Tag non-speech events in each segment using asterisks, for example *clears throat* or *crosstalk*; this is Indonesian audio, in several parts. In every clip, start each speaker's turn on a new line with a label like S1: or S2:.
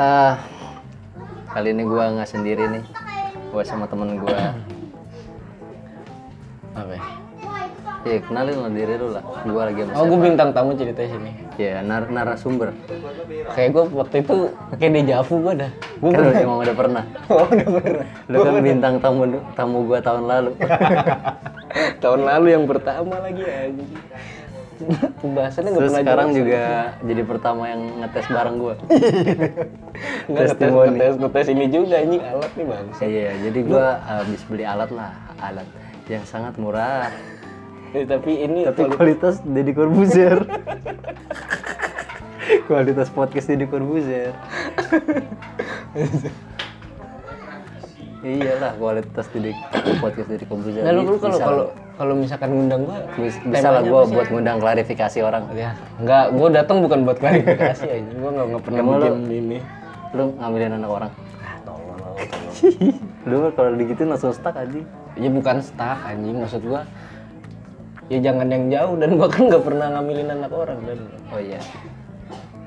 S1: ah kali ini gua nggak sendiri nih. Gua sama temen
S2: *clears throat*
S1: gua.
S2: Apa ya?
S1: Iya, kenalin lo diri lu lah. Gua lagi sama
S2: Oh,
S1: siapa.
S2: gue bintang tamu ceritanya sini.
S1: Iya, nar narasumber.
S2: Kayak gue waktu itu kayak dejavu gue dah. Gue
S1: Kan lu emang udah pernah.
S2: *laughs* oh, udah pernah.
S1: Lu kan bintang tamu tamu gua tahun
S2: *laughs*
S1: lalu.
S2: Tahun lalu yang pertama lagi ya. *laughs* Pembahasannya nggak
S1: Terus
S2: pernah
S1: sekarang juga jadi pertama yang ngetes bareng
S2: *laughs*
S1: gua.
S2: nggak ngetes
S1: testimoni.
S2: ngetes ngetes ini juga ini alat nih bang.
S1: Iya, jadi gua habis beli alat lah, alat yang sangat murah.
S2: Eh, tapi ini
S1: Tapi kualitas Deddy Corbuzier. *laughs* kualitas podcast Deddy Corbuzier. Iyalah kualitas Deddy podcast Deddy Corbuzier.
S2: Nah, lu, lu
S1: Bisa
S2: kalau
S1: lah.
S2: kalau kalau misalkan ngundang gua
S1: Bis- bisa,
S2: temanya
S1: lah gua
S2: apa sih?
S1: buat ngundang klarifikasi orang.
S2: ya nggak gua datang bukan buat klarifikasi aja gua nggak nggak pernah
S1: Emang lu-
S2: bikin ini
S1: Lu ngambilin anak orang.
S2: ah tolong tolong
S1: *laughs* Lu kalau digituin langsung stuck aja.
S2: ya bukan stuck anjing maksud gua ya jangan yang jauh dan gua kan nggak pernah ngambilin anak orang dan
S1: Oh iya.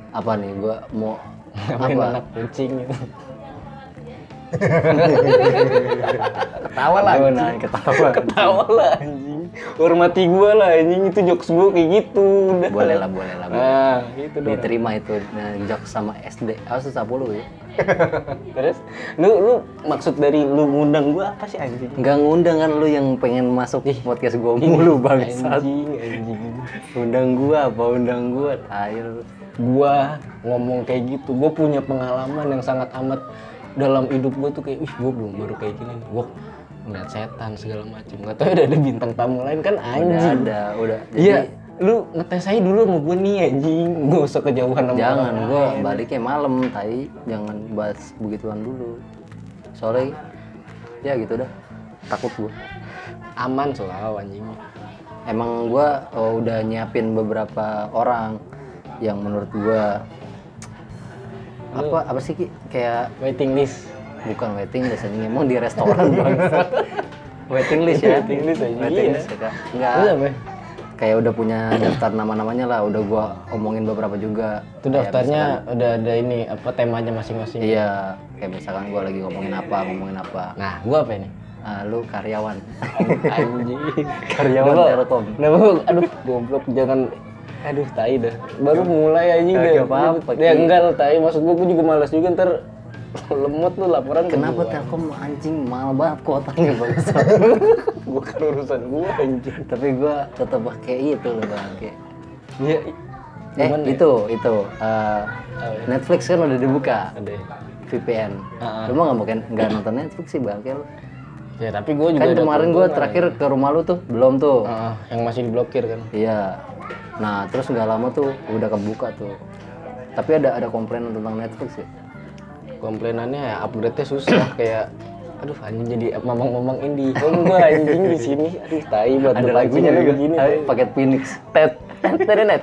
S1: Apa nih gua mau
S2: ngambilin
S1: apa?
S2: anak *laughs* kucing gitu
S1: Ketawa lah. Gua naik
S2: *laughs*
S1: ketawa.
S2: tawa lah anjing hormati gua lah anjing itu jokes gua kayak gitu udah
S1: boleh lah, boleh lah. boleh.
S2: nah gitu dong *laughs*
S1: Diterima itu nah, jok sama SD. Ah, susah puluh ya.
S2: terus lu lu maksud dari lu ngundang gua apa sih anjing
S1: Nggak ngundang kan lu yang pengen masuk podcast gua *laughs* mulu bangsat.
S2: anjing anjing
S1: Undang gua apa undang gua? Air.
S2: gua ngomong kayak gitu gua punya pengalaman yang sangat amat dalam hidup gua tuh kayak wih gua belum baru kayak gini nih. gua ngeliat setan segala macam nggak tahu *laughs* udah ada bintang tamu lain kan
S1: Udah
S2: anjing
S1: ada, udah. Jadi
S2: iya lu ngetes aja dulu sama gua nih anjing gak usah kejauhan sama
S1: jangan
S2: orang.
S1: gua baliknya malam tai, jangan bahas begituan dulu. Sorry. Ya gitu dah. Takut gua.
S2: aman selalu anjing
S1: Emang gua oh, udah nyiapin beberapa orang yang menurut gua apa apa sih Ki? kayak
S2: waiting list
S1: Bukan waiting list anjing, emang di restoran
S2: *laughs*
S1: bangsat. waiting list ya.
S2: Waiting list anjing,
S1: Waiting
S2: iya.
S1: list ya, Kak.
S2: Lu
S1: Enggak.
S2: apa?
S1: Kayak udah punya daftar nama-namanya lah, udah gua omongin beberapa juga.
S2: itu daftarnya
S1: kan?
S2: udah ada ini apa temanya masing-masing
S1: Iya, kayak misalkan gua lagi ngomongin apa, ngomongin apa.
S2: nah gua apa ini
S1: Ah, lu karyawan. *laughs*
S2: anjing *laughs*
S1: Karyawan
S2: Kenapa-
S1: Telkom.
S2: kenapa gua- aduh goblok jangan aduh tai dah baru mulai anjing
S1: Iya. Kagak
S2: deh
S1: apa-apa,
S2: ya enggak lah tai maksud gua gua juga malas juga ntar *laughs* lemot tuh laporan ke
S1: Kenapa
S2: gua.
S1: Telkom anjing mahal banget kuotanya bangsat.
S2: *laughs* gua kan urusan gua anjing
S1: *laughs* Tapi gua tetap pakai itu loh, Bang. Kayak-
S2: ya
S1: Eh,
S2: Gimana ya?
S1: itu, itu. Eh, Netflix kan udah dibuka.
S2: ada
S1: VPN.
S2: Ah, ah.
S1: Lu mah nggak mungkin nggak nonton Netflix sih bang Kel.
S2: ya tapi gua juga
S1: Kan
S2: ada
S1: kemarin gua terakhir ke rumah lu tuh belum tuh.
S2: Ah, yang masih diblokir kan
S1: Iya. Nah terus nggak lama tuh udah kebuka tuh. Tapi ada ada komplain tentang Netflix ya.
S2: komplainannya ya update-nya susah kayak aduh anjing jadi mamang-mamang indie kan gua anjing di sini aduh tai buat
S1: Ada
S2: berpacingan
S1: lagunya juga.
S2: begini
S1: Ah, Paket Phoenix.
S2: tet tet terenet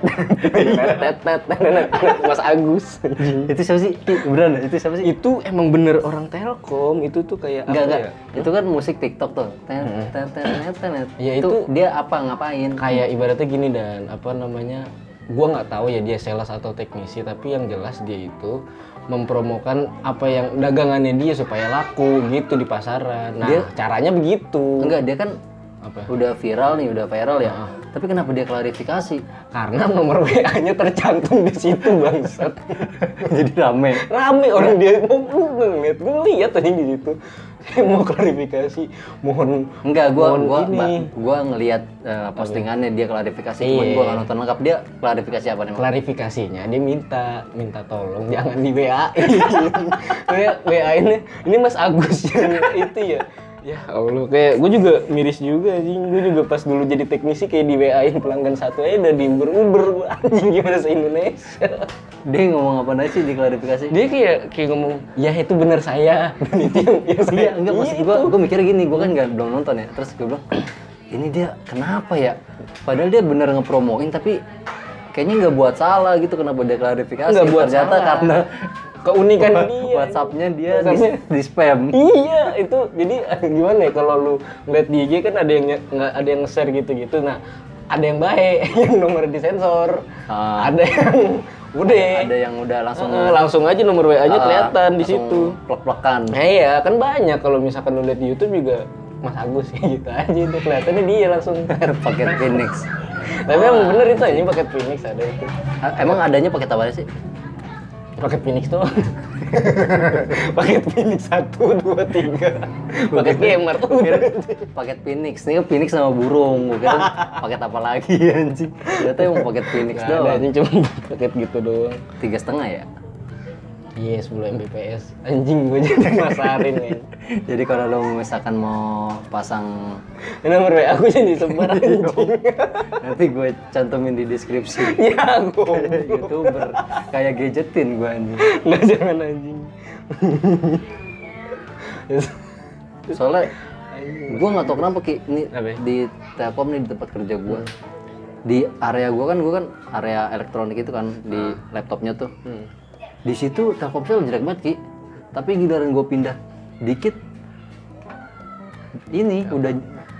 S2: tet tet terenet Mas Agus
S1: *laughs* itu siapa sih? Ki, beneran ya? itu siapa sih?
S2: itu emang bener orang Telkom itu tuh kayak
S1: Enggak
S2: apa
S1: enggak.
S2: ya? Hmm.
S1: Itu kan musik TikTok tuh. Ten, ten, ten, ten, ten, ten.
S2: Ya,
S1: Itu
S2: itu-
S1: dia apa ngapain?
S2: kayak ibaratnya gini dan apa namanya gua nggak tahu ya dia sales atau teknisi tapi yang jelas dia itu mempromokan apa yang dagangannya dia supaya laku gitu di pasaran nah
S1: Dia-
S2: caranya begitu
S1: Enggak dia kan
S2: apa
S1: udah viral nih, udah viral ya.
S2: Ah.
S1: Tapi kenapa dia
S2: *laughs*
S1: klarifikasi?
S2: karena nomor WA-nya tercantum di situ bangsat
S1: Jadi rame.
S2: rame orang dia mau lu ngeliat gue lihat tadi di situ saya mau klarifikasi mohon
S1: Enggak, gua
S2: Mohon
S1: gua
S2: ini.
S1: ba- gua ngelihat eh, postingannya dia klarifikasi, cuman
S2: Iya.
S1: gua nggak nonton lengkap dia klarifikasi apa nih? Mak?
S2: klarifikasinya dia minta minta tolong jangan di WA kayak WA ini ini Mas Agus yang itu ya ya Allah kayak gue juga miris juga anjing gue juga pas dulu jadi teknisi kayak di WA in pelanggan satu aja udah di Uber Uber Gua, anjing gimana se Indonesia
S1: Dia ngomong apa aja sih di klarifikasi?
S2: dia kayak kayak ngomong ya itu benar saya *laughs* dan itu yang, yang saya
S1: Iya, enggak maksud
S2: Iya,
S1: gua, gua mikir gini, gua kan nggak belum nonton ya. Terus gua bilang, *clears throat* ini dia kenapa ya? Padahal dia bener ngepromoin tapi kayaknya nggak buat salah gitu kenapa dia klarifikasi?
S2: Nggak buat
S1: Ternyata
S2: salah.
S1: karena
S2: keunikan
S1: wa-
S2: dia
S1: WhatsApp-nya dia di,
S2: WhatsApp-nya.
S1: di spam.
S2: iya itu jadi *laughs* gimana ya kalau lu ngeliat di IG kan ada yang nye- nggak ada yang *laughs* share gitu gitu nah ada yang baik yang nomor disensor
S1: Ah.
S2: ada yang Udah.
S1: Ada yang Ah, udah langsung eh,
S2: Eh, langsung Iya. aja nomor WA-nya kelihatan di situ.
S1: Plek-plekan.
S2: Nah iya kan banyak kalau misalkan lu lihat di YouTube juga Mas Agus *laughs* kayak gitu aja itu kelihatannya dia
S1: *laughs*
S2: langsung.
S1: paket
S2: *laughs*
S1: Phoenix.
S2: Tapi emang bener itu ini paket Phoenix ada itu.
S1: Ah, Emang adanya paket apa sih?
S2: Paket Phoenix tuh. *laughs* paket Phoenix 1 2 3. Paket gamer tuh.
S1: Paket Phoenix. Ini kan Phoenix sama burung. Gue
S2: *laughs*
S1: kira paket apa lagi *laughs* anjing. Ternyata emang paket Phoenix
S2: Nggak ada
S1: doang.
S2: ini cuma paket gitu doang.
S1: Tiga setengah ya?
S2: Iya, 10 Mbps. Anjing gue
S1: *laughs*
S2: jadi masarin men.
S1: Jadi kalau lo misalkan mau pasang
S2: Nomor WA aku jadi sebar
S1: Iya,
S2: anjing.
S1: nanti gue cantumin di deskripsi
S2: *laughs* ya aku.
S1: youtuber kayak gadgetin gue anjing
S2: Nggak jangan anjing.
S1: soalnya gue nggak tau kenapa ki ini
S2: Apa ya?
S1: di telkom nih di tempat kerja gue di area gue kan gue kan area elektronik itu kan di laptopnya tuh
S2: Hmm.
S1: di situ telkom sel jelek banget ki tapi giliran gue pindah dikit ini udah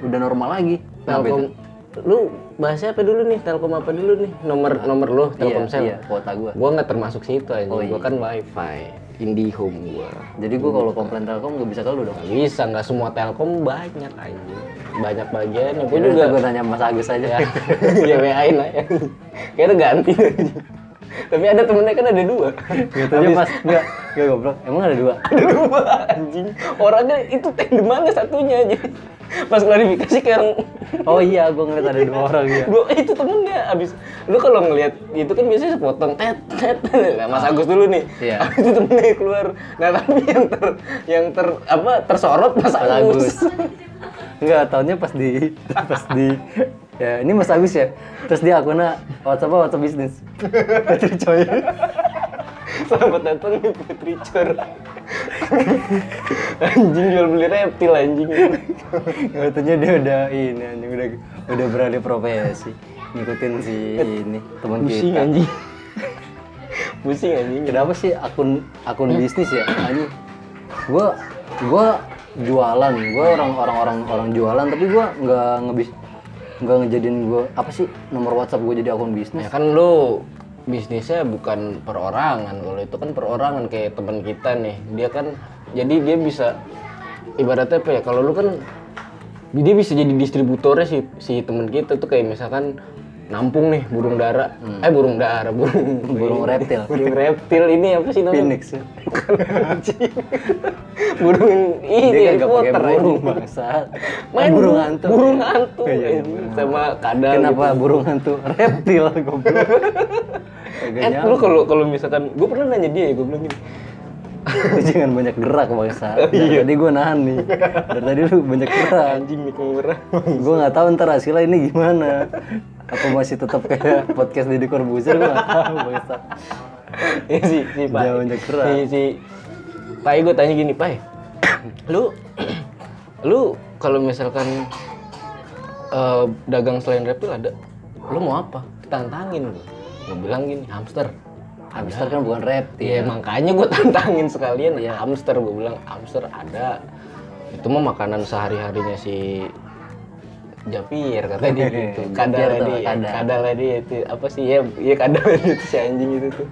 S1: udah normal lagi
S2: Nah,
S1: Kenapa itu?
S2: Telkom. Lu bahasnya apa dulu nih? Telkom apa dulu nih? Nomor nomor lu
S1: iya,
S2: Telkomsel.
S1: iya kuota gue
S2: Gua nggak termasuk situ anjing.
S1: Oh, iya.
S2: Gua kan WiFi IndiHome gua.
S1: jadi
S2: Iya.
S1: gue kalau komplain telkom gak bisa kalau dong
S2: Nggak bisa, nggak semua Telkom banyak anjing. Banyak bagian. Gua
S1: Jadi
S2: juga
S1: gue tanya Mas Agus aja.
S2: ya *laughs* ya WA-in aja. Kayaknya ganti. anjing. Tapi ada temennya kan ada dua.
S1: Gitu aja Mas. Enggak, enggak goblok. Emang ada dua.
S2: Ada dua anjing. Orangnya itu tandem mana satunya aja. Pas klarifikasi kayak
S1: Oh iya, gue ngeliat ada dua orang ya.
S2: Gua "Eh, itu temennya abis lu kalau ngelihat itu kan biasanya sepotong tet tet nah, Mas Agus dulu nih
S1: Iya.
S2: Abis itu temennya keluar nah tapi yang ter yang ter apa tersorot
S1: Mas
S2: Mas, Agus,
S1: Agus. Enggak, tahunnya pas di pas di ya ini Mas Agus ya. Terus dia akunnya WhatsApp WhatsApp
S2: *laughs*
S1: bisnis. Putri coy.
S2: selamat datang di Putri Cor anjing jual beli reptil anjing
S1: Katanya dia udah ini anjing udah udah beralih profesi. Ngikutin si
S2: Eh,
S1: ini teman
S2: pusing
S1: kita.
S2: anjing pusing anjing
S1: Kenapa sih akun akun bisnis ya? Anjing. Gua gua jualan, gua orang orang orang orang jualan tapi gua nggak ngebis nggak ngejadiin gua apa sih nomor WhatsApp gua jadi akun bisnis.
S2: ya kan lu bisnisnya bukan perorangan kalau itu kan perorangan kayak teman kita nih dia kan jadi dia bisa ibaratnya apa ya kalau lu kan dia bisa jadi distributornya si si teman kita tuh kayak misalkan nampung nih burung dara eh burung dara *laughs* burung
S1: Burung reptil.
S2: burung reptil ini apa sih namanya
S1: Phoenix ya.
S2: *laughs* burung ini
S1: Dia kan
S2: Harry
S1: nggak pakai
S2: Potter,
S1: burung
S2: anjing.
S1: bangsa.
S2: main
S1: burung hantu.
S2: burung hantu
S1: Iya, iya,
S2: anjing. sama kadal gitu.
S1: Kenapa burung hantu? Reptil goblok. Kagak
S2: Eh, lu
S1: nyampe.
S2: kalau kalau misalkan gue pernah nanya dia ya gue bilang gini
S1: *laughs* Lu jangan banyak gerak bangsa. Dari tadi gua nahan nih. Dari tadi lu banyak gerak.
S2: anjing nih murah *laughs*
S1: gue nggak tahu ntar hasilnya ini gimana apa masih tetap kayak podcast di Corbuzier gue nggak tahu bangsa
S2: ya si si Pai.
S1: Jangan nyekrak.
S2: Si si Pai gue tanya gini, Pai. *coughs* lu *coughs* lu kalau misalkan eh, dagang selain reptil ada, lu mau apa? Tantangin gue. Gue bilang gini, hamster.
S1: hamster kan bukan reptil
S2: Ya makanya gue *laughs* tantangin sekalian
S1: Iya.
S2: ya hamster gue bilang hamster ada. Itu mah makanan sehari-harinya si Japir katanya
S1: *laughs*
S2: dia gitu.
S1: Japir
S2: Kadal
S1: tuh,
S2: tadi,
S1: kadal.
S2: kadal tadi itu apa sih ya? Iya kadal *laughs* tadi itu si anjing itu tuh.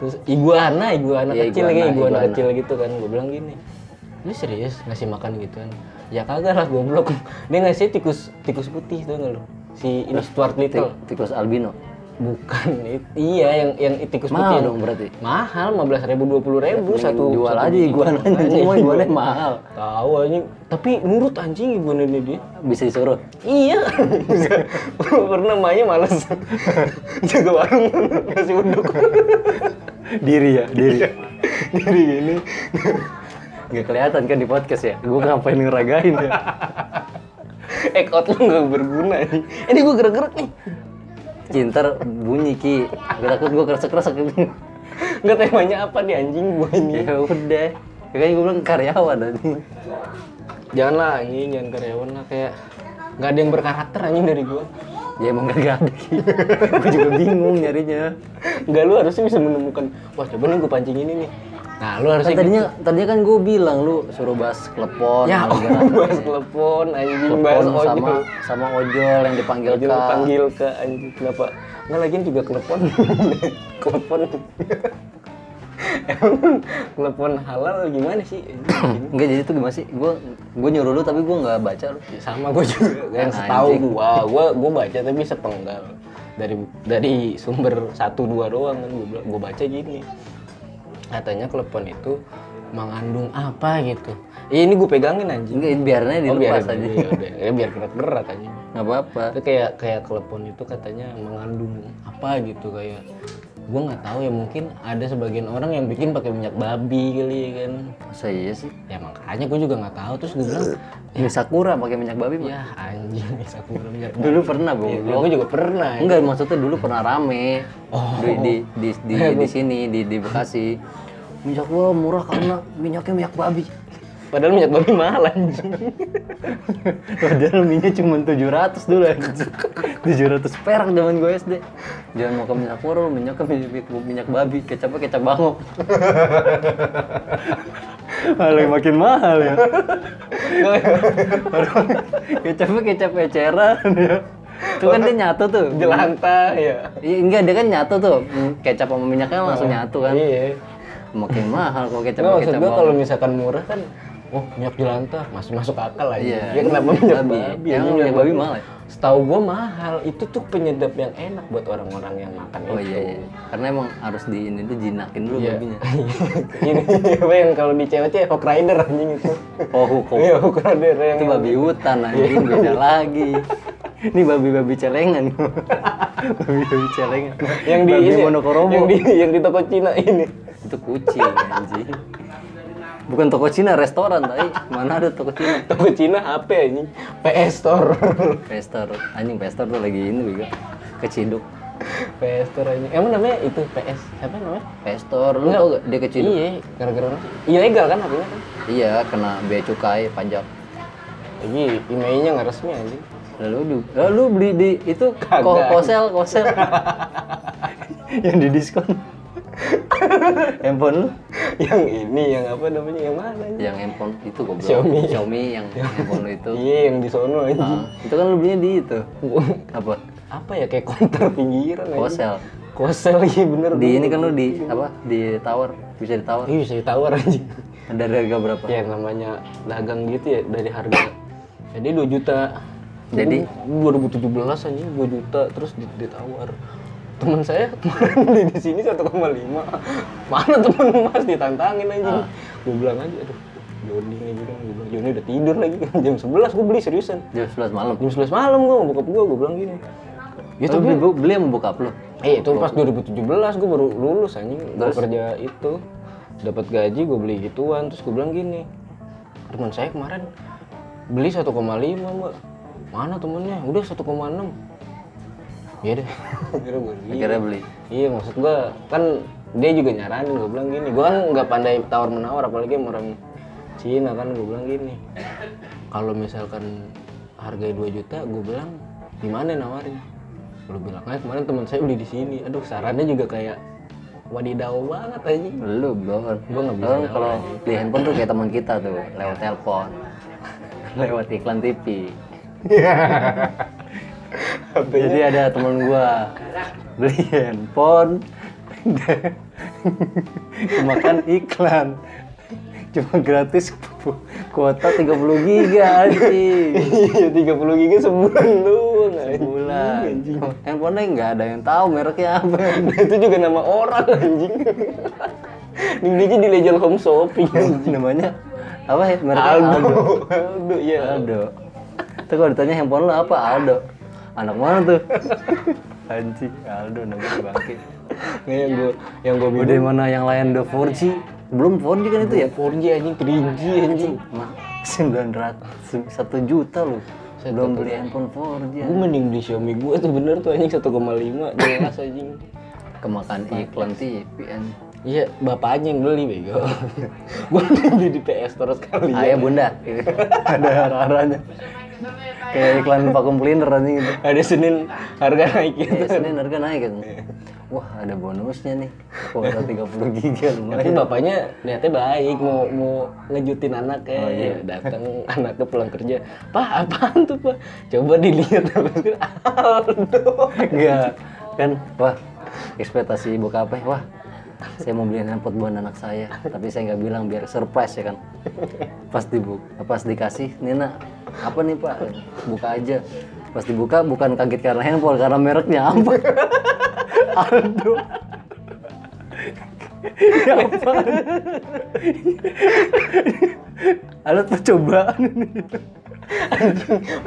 S2: Terus iguana, iguana
S1: Iya,
S2: kecil
S1: iguana,
S2: kayak iguana,
S1: iguana.
S2: kecil gitu kan. Gue bilang gini, lu serius ngasih makan gituan? Ya kagak lah goblok. *laughs* Dia ngasih tikus tikus putih tuh nggak lu? Si ini Stuart Little.
S1: Ti- tikus albino
S2: Bukan, i- iya yang yang tikus putih.
S1: mahal
S2: yang-
S1: dong berarti
S2: Mahal, 15 ribu, 20 ribu
S1: Mending
S2: satu.
S1: jual
S2: satu
S1: aja
S2: biji.
S1: iguananya
S2: Makanya
S1: cuma iguana mahal
S2: Tahu anjing, tapi nurut anjing iguananya dia.
S1: bisa disuruh
S2: Iya, *laughs* pernah mainnya males. *laughs* Jaga warung kasih *laughs* unduk.
S1: diri ya diri
S2: Diri gini.
S1: nggak kelihatan kan di podcast ya gue ngapain ngeragain ya
S2: Egg out lu nggak berguna nih. Ini gue gerak-gerak nih.
S1: cinter bunyi ki gue takut gue keresek keresek
S2: Nggak temanya apa nih anjing gue ini.
S1: ya udah Ya kan gue bilang karyawan anjing
S2: Janganlah anjing, jangan karyawan lah kayak nggak ada yang berkarakter anjing dari gue.
S1: ya emang kagak ada *laughs* gue juga bingung nyarinya Kan
S2: Enggak lu harusnya bisa menemukan, wah coba nih gue pancing ini nih. Nah, lu harusnya
S1: Kan tadinya tadinya kan gue bilang lu suruh bahas klepon
S2: ya
S1: sama
S2: Allah,
S1: gimana.
S2: bahas telepon anjing bahas
S1: Klepon
S2: ojol.
S1: sama sama ojol yang dipanggil
S2: Ojol
S1: kak.
S2: panggil ke anjing kenapa? Enggak lagian juga telepon. *laughs* telepon. Emang telepon halal gimana *coughs* sih? Anjing.
S1: Enggak jadi itu gimana sih? Gue gue nyuruh lu tapi gue nggak baca lu.
S2: sama gue juga yang
S1: Kan
S2: setahu
S1: anjing.
S2: gua gua gua baca tapi sepenggal dari dari sumber satu dua doang kan gua, bilang- gua baca gini katanya klepon itu mengandung apa gitu ya ini gue pegangin anjing
S1: Enggak biarnya dilepas aja.
S2: ya udah. Ya, biar gerak gerak aja
S1: Nggak apa-apa.
S2: itu kayak kayak klepon itu katanya mengandung apa gitu kayak gua nggak tahu ya mungkin ada sebagian orang yang bikin pakai minyak babi kali ya kan
S1: Masa iya sih?
S2: ya makanya gue juga nggak tahu terus gue bilang
S1: Mie sakura pakai minyak babi. Pak.
S2: ya anjing bisa kurang minyak
S1: Iya, Dulu pernah, Bu.
S2: Ya, gue juga pernah.
S1: Enggak, maksudnya dulu pernah rame.
S2: Oh.
S1: Di di di, *laughs* di, di sini di di Bekasi. Minyak gua murah karena minyaknya minyak babi.
S2: Padahal minyak babi mahal anjing.
S1: Padahal minyak cuma 700 dulu anjing. 700 perak zaman gue SD. Jangan mau ke minyak murah, lu minyaknya minyak, minyak, minyak babi, kecapnya kecap bangok. Hal yang makin mahal ya. kecapnya kecap eceran ya. Itu kan dia nyatu tuh.
S2: Jelantah ya.
S1: Iya enggak dia kan nyatu tuh. Hmm, Kecap sama minyaknya langsung nyatu kan.
S2: Iya.
S1: Makin mahal kalau kecap
S2: Nggak,
S1: sama
S2: maksud
S1: kecap.
S2: gue
S1: bawang.
S2: kalau misalkan murah kan Oh, minyak jelantah masih masuk akal aja.
S1: Iya.
S2: Ya kenapa minyak
S1: Babi.
S2: babi?
S1: Emang
S2: Anjing,
S1: minyak babi mahal ya?
S2: Setahu gua mahal. Itu tuh penyedap yang enak buat orang-orang yang makan
S1: Oh
S2: itu.
S1: iya, iya. Karena emang harus di ini tuh jinakin dulu
S2: Iya.
S1: babinya.
S2: *laughs* Ini apa yang kalau di cewek tuh Hawk Rider anjing itu.
S1: Oh, hukum.
S2: Iya, Hawk Rider yang
S1: Itu babi hutan anjing beda lagi. Ini babi-babi celengan. babi-babi celengan.
S2: yang di
S1: babi
S2: ini, ya,
S1: monokoromo.
S2: yang di yang di toko Cina ini. *laughs*
S1: Itu kucing anjing. Bukan toko Cina, restoran tadi. Mana ada toko Cina?
S2: Toko Cina HP anjing. PS Store. *laughs*
S1: Pester, anjing pester tuh lagi ini juga. Keciduk.
S2: PS Store anjing. Emang namanya itu PS. Apa namanya?
S1: Pester, lu tau gak dia keciduk?
S2: Iya, gara-gara orang. Ilegal kan HP-nya kan?
S1: Iya, kena bea cukai pajak.
S2: Lagi IMEI-nya Iya, nggak resmi anjing. *laughs*
S1: Lalu di, lalu beli di itu
S2: Kagak.
S1: ko- kosel kosel *laughs* yang di diskon. handphone lu?
S2: yang ini, yang apa namanya? Yang mana anjing?
S1: Yang handphone itu goblok.
S2: Xiaomi.
S1: Xiaomi *laughs* yang handphone lu itu.
S2: Iya, yang di sono anjing. *laughs*
S1: Ah, itu kan lu belinya di itu. Apa?
S2: apa ya kayak konter pinggiran anjing.
S1: Kosel.
S2: Kosel lagi bener.
S1: Di ini kan lu di apa? Di tower, bisa di tower.
S2: Ih, bisa ditawar anjing.
S1: Dari harga berapa?
S2: Ya namanya dagang gitu ya dari harga. Jadi 2 juta.
S1: Jadi?
S2: Gua 2017 anjing 2 juta terus di- ditawar. Teman saya kemarin *laughs* di, di sini 1,5. Mana temen Mas ditantangin anjing. Gue bilang aja aduh Joni nih gue bilang, Gua bilang Joni udah tidur lagi *laughs* jam 11 gue beli seriusan.
S1: Jam 11 malam.
S2: Jam 11 malam gue bokap gue gue bilang gini.
S1: Ya tapi beli, beli sama bokap lu.
S2: Eh itu pas 2017 gue baru lulus anjing gue kerja itu dapat gaji gue beli gituan terus gue bilang gini teman saya kemarin beli 1,5 mbak mana temennya udah 1,6 iya deh Akhirnya gua beli.
S1: Akhirnya beli.
S2: iya maksud gue kan dia juga nyaranin gue bilang gini gue kan nggak pandai tawar menawar apalagi sama orang Cina kan gue bilang gini kalau misalkan harganya 2 juta gue bilang gimana nawarnya lu bilang "Ah, kemarin teman saya beli di sini aduh sarannya juga kayak wadidaw banget aja *laughs*
S1: Lu belum.
S2: Gua nggak bisa
S1: Orang kalau beli handphone tuh kayak teman kita tuh, lewat telepon. *laughs* lewat iklan TV.
S2: Iya.
S1: Jadi ada teman gua beli handphone *laughs* kemakan iklan. Cuma gratis kuota 30 giga anjing.
S2: Ya, tiga puluh giga sebulan doang anjing.
S1: Bulan. Handphonenya nggak ada yang tahu mereknya apa.
S2: itu juga nama orang anjing *laughs* Dingin di Legend Home Shopping
S1: Namanya apa ya? Mereknya
S2: Aldo Aldo ya
S1: Aldo. Tuh kalau ditanya handphone lo apa Aldo? Anak mana tuh? Anjing Aldo namanya bangke.
S2: Nih, yang gue yang gue
S1: Udah mana yang lain udah 4G? Belum 4G kan itu ya?
S2: 4G anjing 3G anjing
S1: Mah, 900 1 juta lu. Belum beli handphone 4G.
S2: gue mending beli Xiaomi gue tuh bener tuh anjing 1,5 jelas anjing
S1: Kemakan iklan TV an.
S2: iya bapaknya yang beli bego *laughs* gue beli di PS terus
S1: Iya.
S2: kali ya.
S1: *laughs* Ayah bunda. ada arah-arahnya. kayak iklan vakum cleaner anjing gitu
S2: Ada Senin harga naik gitu.
S1: Kayak Senin harga naik gitu wah ada bonusnya nih kuota 30 giga
S2: Tapi
S1: ya, lumayan
S2: bapaknya niatnya baik mau mau ngejutin anak ya.
S1: Oh, iya.
S2: Datang *laughs* anaknya pulang kerja. Pak, apaan tuh, Pak? Coba
S1: *laughs*
S2: dilihat
S1: Iya.
S2: Aldo.
S1: enggak kan wah ekspektasi bokapnya wah saya mau beliin handphone buat anak saya tapi saya nggak bilang biar surprise ya kan pas dibuka pas dikasih Nina apa nih pak buka aja pas dibuka bukan kaget karena handphone karena mereknya apa Aldo ya apa alat percobaan ini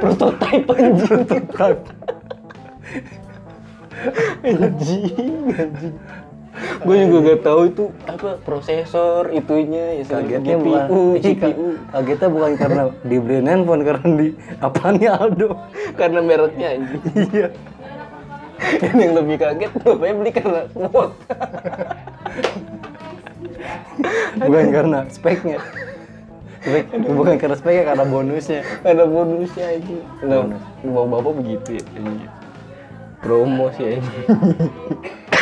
S2: Prototype anjing. anjing anjing gue juga gak tahu itu apa prosesor itunya ya
S1: kagetnya bukan
S2: GPU GPU
S1: kagetnya bukan karena dibeliin handphone karena di apanya Aldo
S2: karena mereknya anjing *laughs*
S1: iya
S2: dan yang lebih kaget bapaknya beli karena kuat
S1: bukan karena speknya Spek, bukan karena speknya karena bonusnya
S2: karena bonusnya anjing nah bapak bapak begitu ya anjing. promo sih anjing.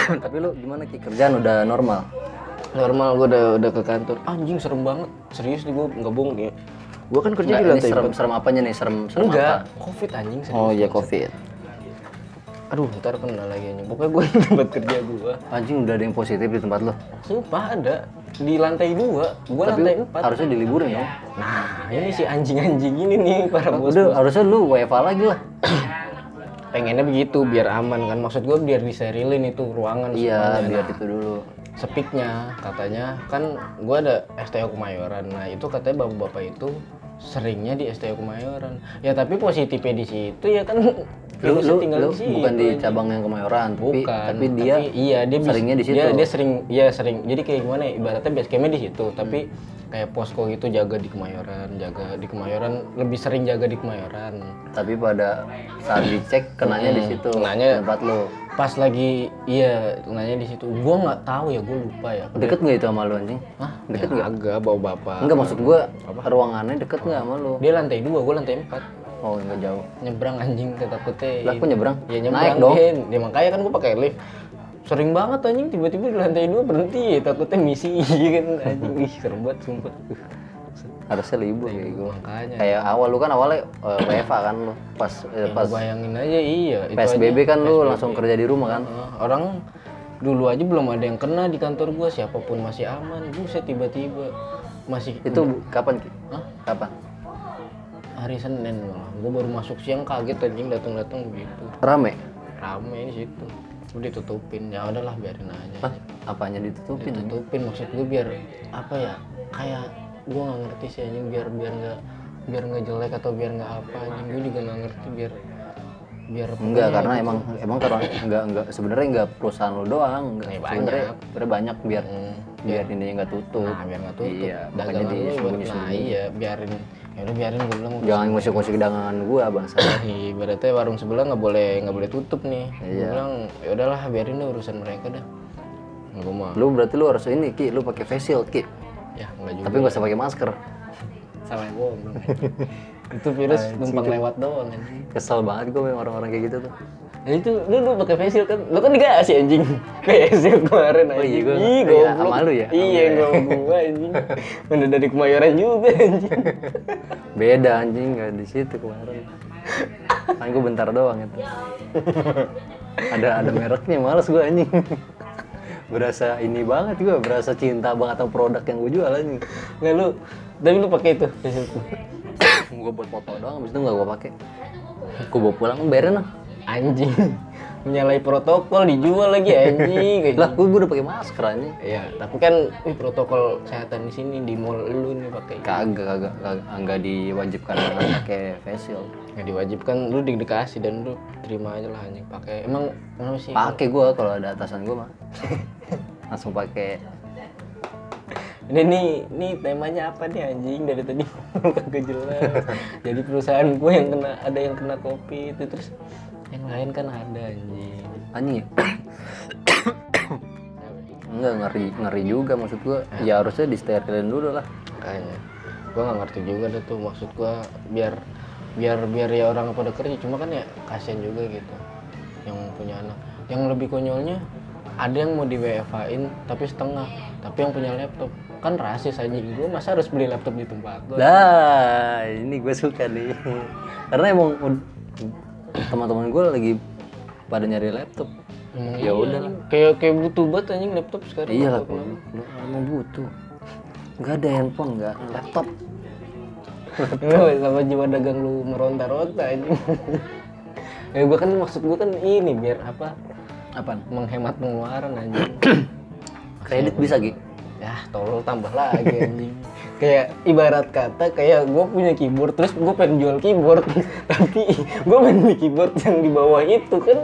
S1: tapi lu gimana ki kerjaan udah normal
S2: normal gue udah udah ke kantor anjing serem banget serius nih gue nggak bohong nih gue kan kerja
S1: Nggak,
S2: di
S1: ini
S2: lantai
S1: serem
S2: empat.
S1: serem apanya nih serem serem
S2: enggak covid anjing serius
S1: apa oh iya covid
S2: aduh ntar kena lagi anjing pokoknya gue di *laughs* tempat kerja gue
S1: anjing udah ada yang positif di tempat lu
S2: Sumpah ada di lantai dua, gua
S1: tapi
S2: lantai empat.
S1: harusnya diliburin ya
S2: Nah, ini si anjing-anjing ini nih para bos.
S1: udah harusnya lu WFA lagi lah
S2: Pengennya begitu biar aman kan. Maksud gua biar diserilin itu ruangan
S1: iya
S2: semuanya.
S1: biar itu dulu
S2: Sepiknya katanya kan gua ada STO Kemayoran. Nah, itu katanya bapak-bapak itu seringnya di STO Kemayoran. Ya tapi positifnya di situ ya
S1: *laughs*
S2: kan
S1: lu
S2: virusnya
S1: lu,
S2: tinggal
S1: lu
S2: di situ.
S1: bukan di cabang yang kemayoran tapi
S2: bukan
S1: tapi dia
S2: iya dia bis-
S1: seringnya di situ.
S2: dia, dia sering ya sering jadi kayak gimana ya ibaratnya base campnya di situ tapi
S1: Hmm.
S2: kayak posko gitu jaga di Kemayoran jaga di Kemayoran lebih sering jaga di Kemayoran
S1: tapi pada saat dicek kenanya di situ
S2: Hmm, kenanya-
S1: tempat lu
S2: pas lagi iya nanya di situ gua nggak tahu ya gua lupa ya
S1: deket nggak itu sama lu anjing
S2: Hah? deket ya, agak bawa bapak
S1: enggak maksud gua ruangannya deket nggak sama lu
S2: dia lantai dua gua lantai empat
S1: oh enggak jauh
S2: nyebrang anjing ketakutnya
S1: lah aku nyebrang
S2: ya
S1: naik
S2: nyebrang
S1: dong
S2: Den. ya makanya kan gua pakai lift sering banget anjing tiba-tiba di lantai dua berhenti takutnya misi *laughs* kan anjing ih serem banget sumpah
S1: harusnya libur
S2: Iya,
S1: ya gua
S2: makanya
S1: kayak awal lu kan awalnya eh, WFA kan lu pas eh, pas
S2: pas bayangin aja iya itu
S1: PSBB
S2: aja.
S1: kan lu langsung kerja di rumah kan
S2: Heeh, orang dulu aja belum ada yang kena di kantor gua siapapun masih aman buset tiba-tiba masih
S1: itu bu- kapan ki
S2: Iya. Hah?
S1: kapan
S2: hari Senin malah gua baru masuk siang kaget anjing datang-datang begitu
S1: rame
S2: rame di situ udah ditutupin ya udahlah biarin aja
S1: Hah? apanya
S2: Iya.
S1: ditutupin
S2: tutupin maksud gue biar apa ya kayak gue nggak ngerti sih anjing biar biar nggak biar nggak jelek atau biar nggak apa anjing gue juga nggak ngerti biar biar ya.
S1: enggak karena
S2: iya.
S1: emang emang karena enggak enggak sebenarnya enggak perusahaan lu doang enggak
S2: Ya, banyak.
S1: sebenarnya sebenarnya banyak biar
S2: Hmm.
S1: biar ininya enggak tutup
S2: nah, biar nggak tutup
S1: Iya, makanya
S2: dagangan lu buat
S1: disembunyi-sembunyi.
S2: nah iya biarin ya udah biarin gue bilang
S1: jangan ngusik-ngusik dagangan gua bangsa
S2: ibaratnya warung sebelah nggak boleh nggak boleh tutup nih gue
S1: Iya.
S2: bilang ya udahlah biarin deh urusan mereka dah gue mah
S1: lu berarti lu harus ini ki lu pakai face shield ki
S2: ya nggak juga
S1: tapi nggak usah pakai masker
S2: salah gue belum *laughs* itu virus numpang lewat doang anjing
S1: kesel banget gue orang-orang kayak gitu tuh
S2: Ya itu lu lu pakai facial kan. Lu kan enggak sih anjing. *laughs* Kayak facial kemarin anjing.
S1: iya, gua-
S2: Ih,
S1: iya,
S2: goblok.
S1: sama lu ya?
S2: Iya,
S1: Sama
S2: gua gua
S1: *laughs*
S2: anjing. Mana dari Kemayoran juga anjing.
S1: beda anjing nggak di situ kemarin kan gue bentar doang itu ada ada mereknya males gue anjing berasa ini banget gue berasa cinta banget sama produk yang gue jual anjing
S2: Enggak lu tapi lu pakai itu facial tuh.
S1: gue buat foto doang abis itu nggak gue pakai gue bawa pulang bayarin lah
S2: Anjing. Menyalahi protokol dijual lagi anjing.
S1: lah gue udah pakai masker anjing
S2: Ya, tapi kan wih, protokol kesehatan di sini di mall lu nih pakai.
S1: kagak kagak kagak nggak diwajibkan pakai facial
S2: Nggak diwajibkan lu di- dikasih dan lu terima aja lah anjing pakai. Emang kenapa sih?
S1: pakai gue kalau ada atasan gue mah langsung pakai
S2: Ini nih, nih temanya apa nih anjing dari tadi *laughs* kagak jelas. Jadi perusahaan gue yang kena ada yang kena kopi itu terus yang lain kan ada anjing.
S1: anjing ya? enggak ngeri ngeri juga maksud gue ya harusnya disterilin dulu lah
S2: Makanya gue nggak ngerti juga deh tuh maksud gue biar biar biar ya orang pada kerja cuma kan ya kasihan juga gitu yang punya anak yang lebih konyolnya ada yang mau di WFH in tapi setengah tapi yang punya laptop kan rasis anjing gue masa harus beli laptop di tempat lo
S1: Nah, ini gue suka nih. Karena emang ud- teman-teman gue lagi pada nyari laptop.
S2: Emang
S1: Ya
S2: iya,
S1: udah
S2: anjing. kayak kayak butuh banget anjing laptop sekarang
S1: Iya lah, kalau lu emang butuh. Gak ada handphone, gak ada laptop.
S2: Lu *laughs* sama jiwa dagang lu meronta-ronta anjing. *laughs* ya gue kan maksud gue kan ini biar apa
S1: Apaan?
S2: menghemat pengeluaran
S1: *coughs*
S2: anjing
S1: Kredit bisa Gi?
S2: ya tolong tambah lagi anjing kayak ibarat kata kayak gue punya keyboard terus gue pengen jual keyboard *laughs* tapi gue pengen beli keyboard yang di bawah itu kan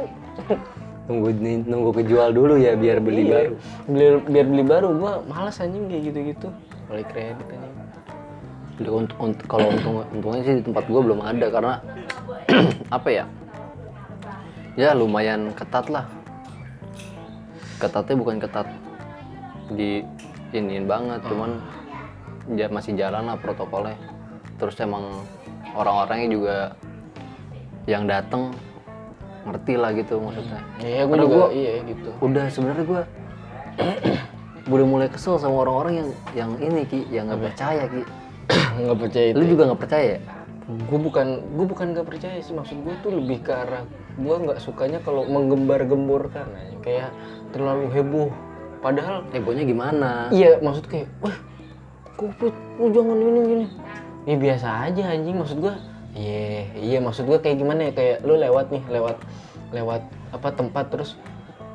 S1: Nunggu nih- nunggu kejual dulu ya biar beli
S2: iya,
S1: baru.
S2: biar, biar beli baru gue malas anjing kayak gitu-gitu beli kredit anjing
S1: Udah, unt- unt- kalau untung untungnya sih di tempat gue belum ada karena *clears throat* apa ya? Ya lumayan ketat lah. Ketatnya bukan ketat di iniin banget, cuman ja- masih jalan lah protokolnya. Terus emang orang-orangnya juga yang datang ngerti lah gitu maksudnya.
S2: iya gue
S1: Karena
S2: juga
S1: gua-
S2: iya gitu *coughs*
S1: Udah sebenarnya gue *clears throat* udah mulai kesel sama orang-orang yang yang ini ki, yang nggak percaya ki.
S2: nggak percaya
S1: Lu juga nggak percaya? ya?
S2: gue bukan gue bukan gak percaya sih maksud gue tuh lebih ke arah gue nggak sukanya kalau menggembar-gemborkan anjing. kayak terlalu heboh padahal
S1: egonya gimana?
S2: iya maksud kayak wah kupit lu jangan ini gini ya biasa aja anjing maksud gue iya iya maksud gue kayak gimana ya kayak lu lewat nih lewat lewat apa tempat terus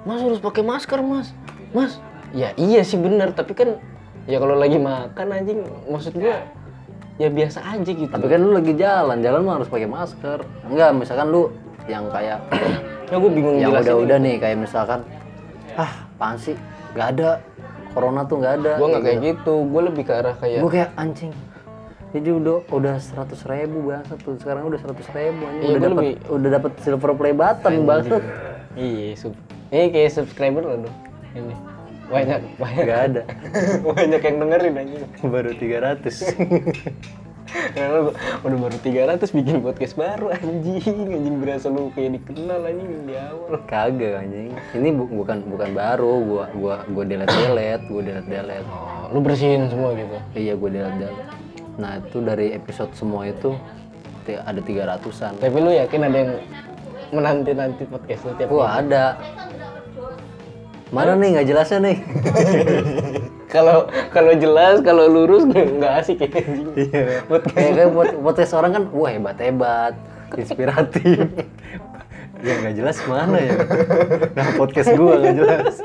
S2: mas harus pakai masker mas mas ya iya sih bener tapi kan ya kalau lagi makan anjing maksud gue ya biasa aja gitu
S1: Tapi kan lu lagi jalan, jalan mah harus pakai masker. Enggak, misalkan lu yang kayak
S2: *coughs* ya gue bingung
S1: yang
S2: jelasin
S1: udah-udah nih kayak misalkan ah, apaan sih? Gak ada. Corona tuh gak ada.
S2: gue nggak kayak gitu gue lebih ke arah kayak
S1: Gue kayak anjing. Jadi udah udah seratus ribu banget tuh sekarang udah seratus ribu anjing.
S2: Iya,
S1: udah
S2: gua
S1: dapat
S2: lebih-
S1: udah dapat silver play button *laughs* banget.
S2: iya sub ini kayak subscriber lo dong ini banyak *laughs* banyak
S1: Gak ada.
S2: banyak yang dengerin aja
S1: Baru 300
S2: Karena lu udah baru 300 bikin podcast baru anjing anjing berasa lu kayak dikenal anjing di awal
S1: *laughs* Kagak anjing. Ini bu- bukan bukan baru. Gua gua gua delete delete. Gua delete delete.
S2: oh, lu bersihin semua gitu
S1: Iya gue delete delete. Nah itu dari episode semua itu ti- ada 300-an.
S2: tapi lu yakin ada yang menanti nanti podcast lu tiap
S1: Wah ada. Mana nih nggak jelasnya nih?
S2: kalau kalau jelas kalau lurus nggak nggak asik ya anjing podcast
S1: Kayak kayak Ya buat podcast orang kan, wah hebat hebat, inspiratif. ya nggak jelas mana ya? Nah podcast gue nggak jelas.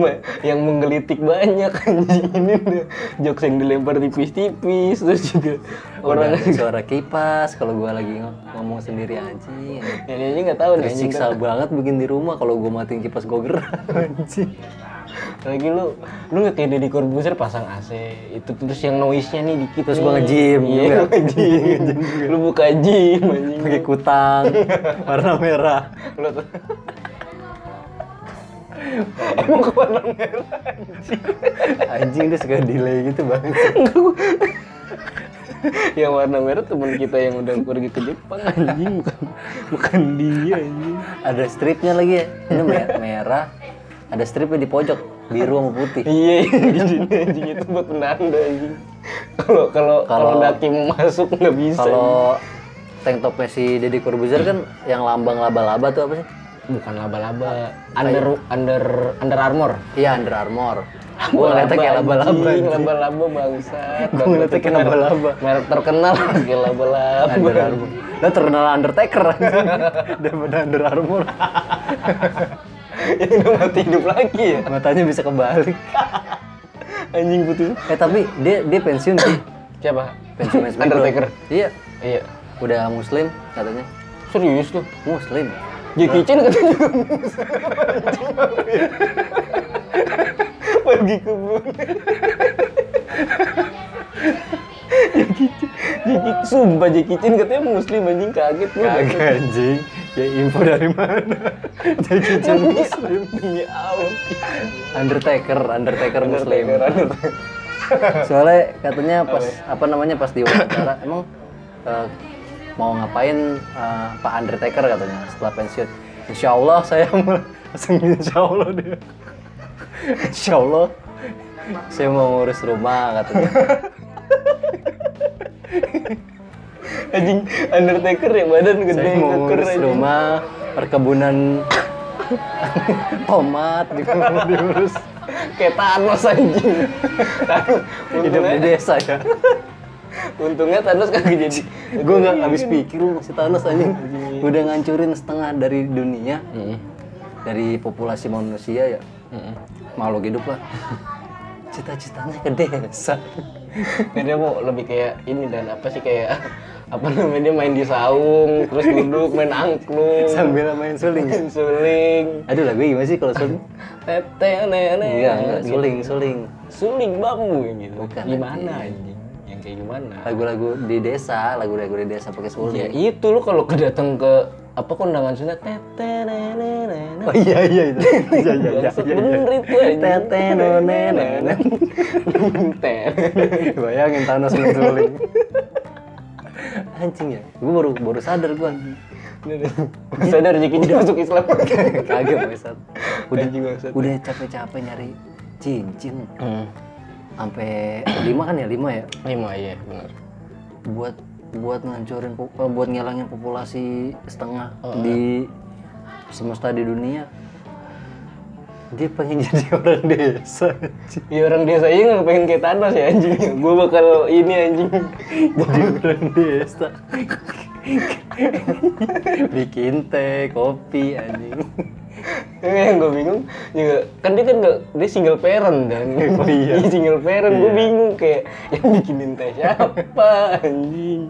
S2: Ma- yang menggelitik banyak anjing ini tuh. jokes yang dilempar tipis-tipis terus juga
S1: Orang
S2: orang
S1: suara kipas kalau gue lagi ng- ngomong sendiri anjing.
S2: ini aja nggak tahu nih anjing
S1: Tersiksa banget bikin di rumah kalau gue matiin kipas gue gerak anjing.
S2: lagi lu lu nggak kayak Deddy Corbuzier pasang AC itu terus yang noise nya nih dikit
S1: Terus
S2: nih.
S1: gua nge-gym
S2: iya
S1: juga.
S2: lu nge-gym lu buka gym anjing
S1: Pakai kutang warna merah.
S2: lu tuh emang ke warna merah anjing
S1: Anjing dia suka delay gitu bang.
S2: yang warna merah teman kita yang udah pergi ke Jepang anjing bukan bukan dia anjing
S1: Ada stripnya lagi ya. Ini me- merah. Ada stripnya di pojok biru sama putih.
S2: Iya, *laughs* di sini anjing itu buat penanda anjing. Kalau kalau kalau
S1: Kalau-
S2: daki mau masuk nggak bisa.
S1: Kalau tank topnya si Deddy Corbuzier kan yang lambang laba-laba tuh apa sih?
S2: bukan laba-laba, under under under armor.
S1: Iya Under Armour. Gue ngeliatnya kayak laba-laba.
S2: anjing, laba-laba bangsa.
S1: Gua ngeliatnya kayak laba-laba.
S2: Merek terkenal kayak Iya, laba-laba.
S1: Under Armour. Lo terkenal Undertaker anjing. Daripada Under Armour.
S2: *laughs* Ini udah mati hidup lagi ya.
S1: Matanya bisa kebalik.
S2: Anjing putih.
S1: Eh tapi dia dia pensiun sih.
S2: Siapa?
S1: Pensiun SmackDown.
S2: Undertaker.
S1: Iya.
S2: Iya.
S1: Udah muslim katanya.
S2: Serius tuh.
S1: Muslim. Nah.
S2: Jackie
S1: *laughs*
S2: Chan katanya juga musuh. Pergi ke bulan. Jackie Chan, Jackie, sumpah Jackie Chan katanya muslim anjing kaget gue.
S1: anjing. Ya info dari mana? *laughs* Jadi
S2: muslim. Demi Allah.
S1: Undertaker, Undertaker Muslim.
S2: Undertaker.
S1: Soalnya katanya pas apa namanya pas diwawancara emang eh, mau ngapain eh, Pak Undertaker katanya setelah pensiun. Insya Allah saya *laughs* mau langsung Insya Allah dia. Insya Allah saya mau ngurus rumah *laughs* katanya.
S2: Anjing Undertaker ya badan gede
S1: saya mau
S2: keker
S1: ngurus
S2: anjing.
S1: rumah *laughs* perkebunan tomat juga mau diurus.
S2: Kayak Thanos
S1: *laughs*
S2: anjing. Thanos,
S1: Hidup di
S2: untungnya,
S1: desa ya.
S2: untungnya Thanos kagak jadi.
S1: Gue nggak habis pikir lu masih Thanos anjing. Udah ngancurin setengah dari dunia,
S2: Mm-mm.
S1: dari populasi manusia ya.
S2: Mm-mm.
S1: makhluk hidup lah cita-citanya ke desa
S2: Kayak dia mau lebih kayak ini dan apa sih kayak apa namanya dia main di saung terus duduk main angklung
S1: sambil main suling
S2: main suling
S1: aduh lagu gimana sih kalau suling
S2: tete nene
S1: enggak Iya, enggak suling suling
S2: suling bambu yang gitu
S1: Bukan, iya.
S2: gimana
S1: anjing.
S2: anjing yang kayak gimana
S1: lagu-lagu di desa lagu-lagu di desa pakai
S2: ya
S1: suling
S2: itu lu kalau kedatang ke apa kondangan Sunda tete nene nene
S1: oh iya iya
S2: *laughs*
S1: itu iya iya iya
S2: Bangsat,
S1: iya,
S2: bener itu
S1: iya
S2: anjing.
S1: tete none nene
S2: Tete.
S1: bayangin Thanos main
S2: *laughs*
S1: suling anjing ya gue baru baru sadar gue
S2: sadar rezekinya masuk Islam
S1: kaget bangsat udah
S2: Anjing, bangsat.
S1: udah capek-capek nyari cincin
S2: hmm.
S1: sampai lima kan ya lima ya
S2: lima iya benar
S1: buat buat ngancurin po- eh, buat ngilangin populasi setengah
S2: Oh, iya.
S1: di semesta di dunia dia pengen *laughs* jadi orang desa anjing.
S2: Ya orang desa aja nggak pengen kayak Thanos ya anjing. *laughs* Gue bakal ini anjing. *laughs*
S1: jadi orang desa *laughs* bikin teh kopi anjing
S2: Yang gue bingung juga kan dia kan nggak dia single parent *laughs* dan
S1: Oh iya.
S2: Dia single parent gue bingung kayak yang bikinin teh siapa anjing.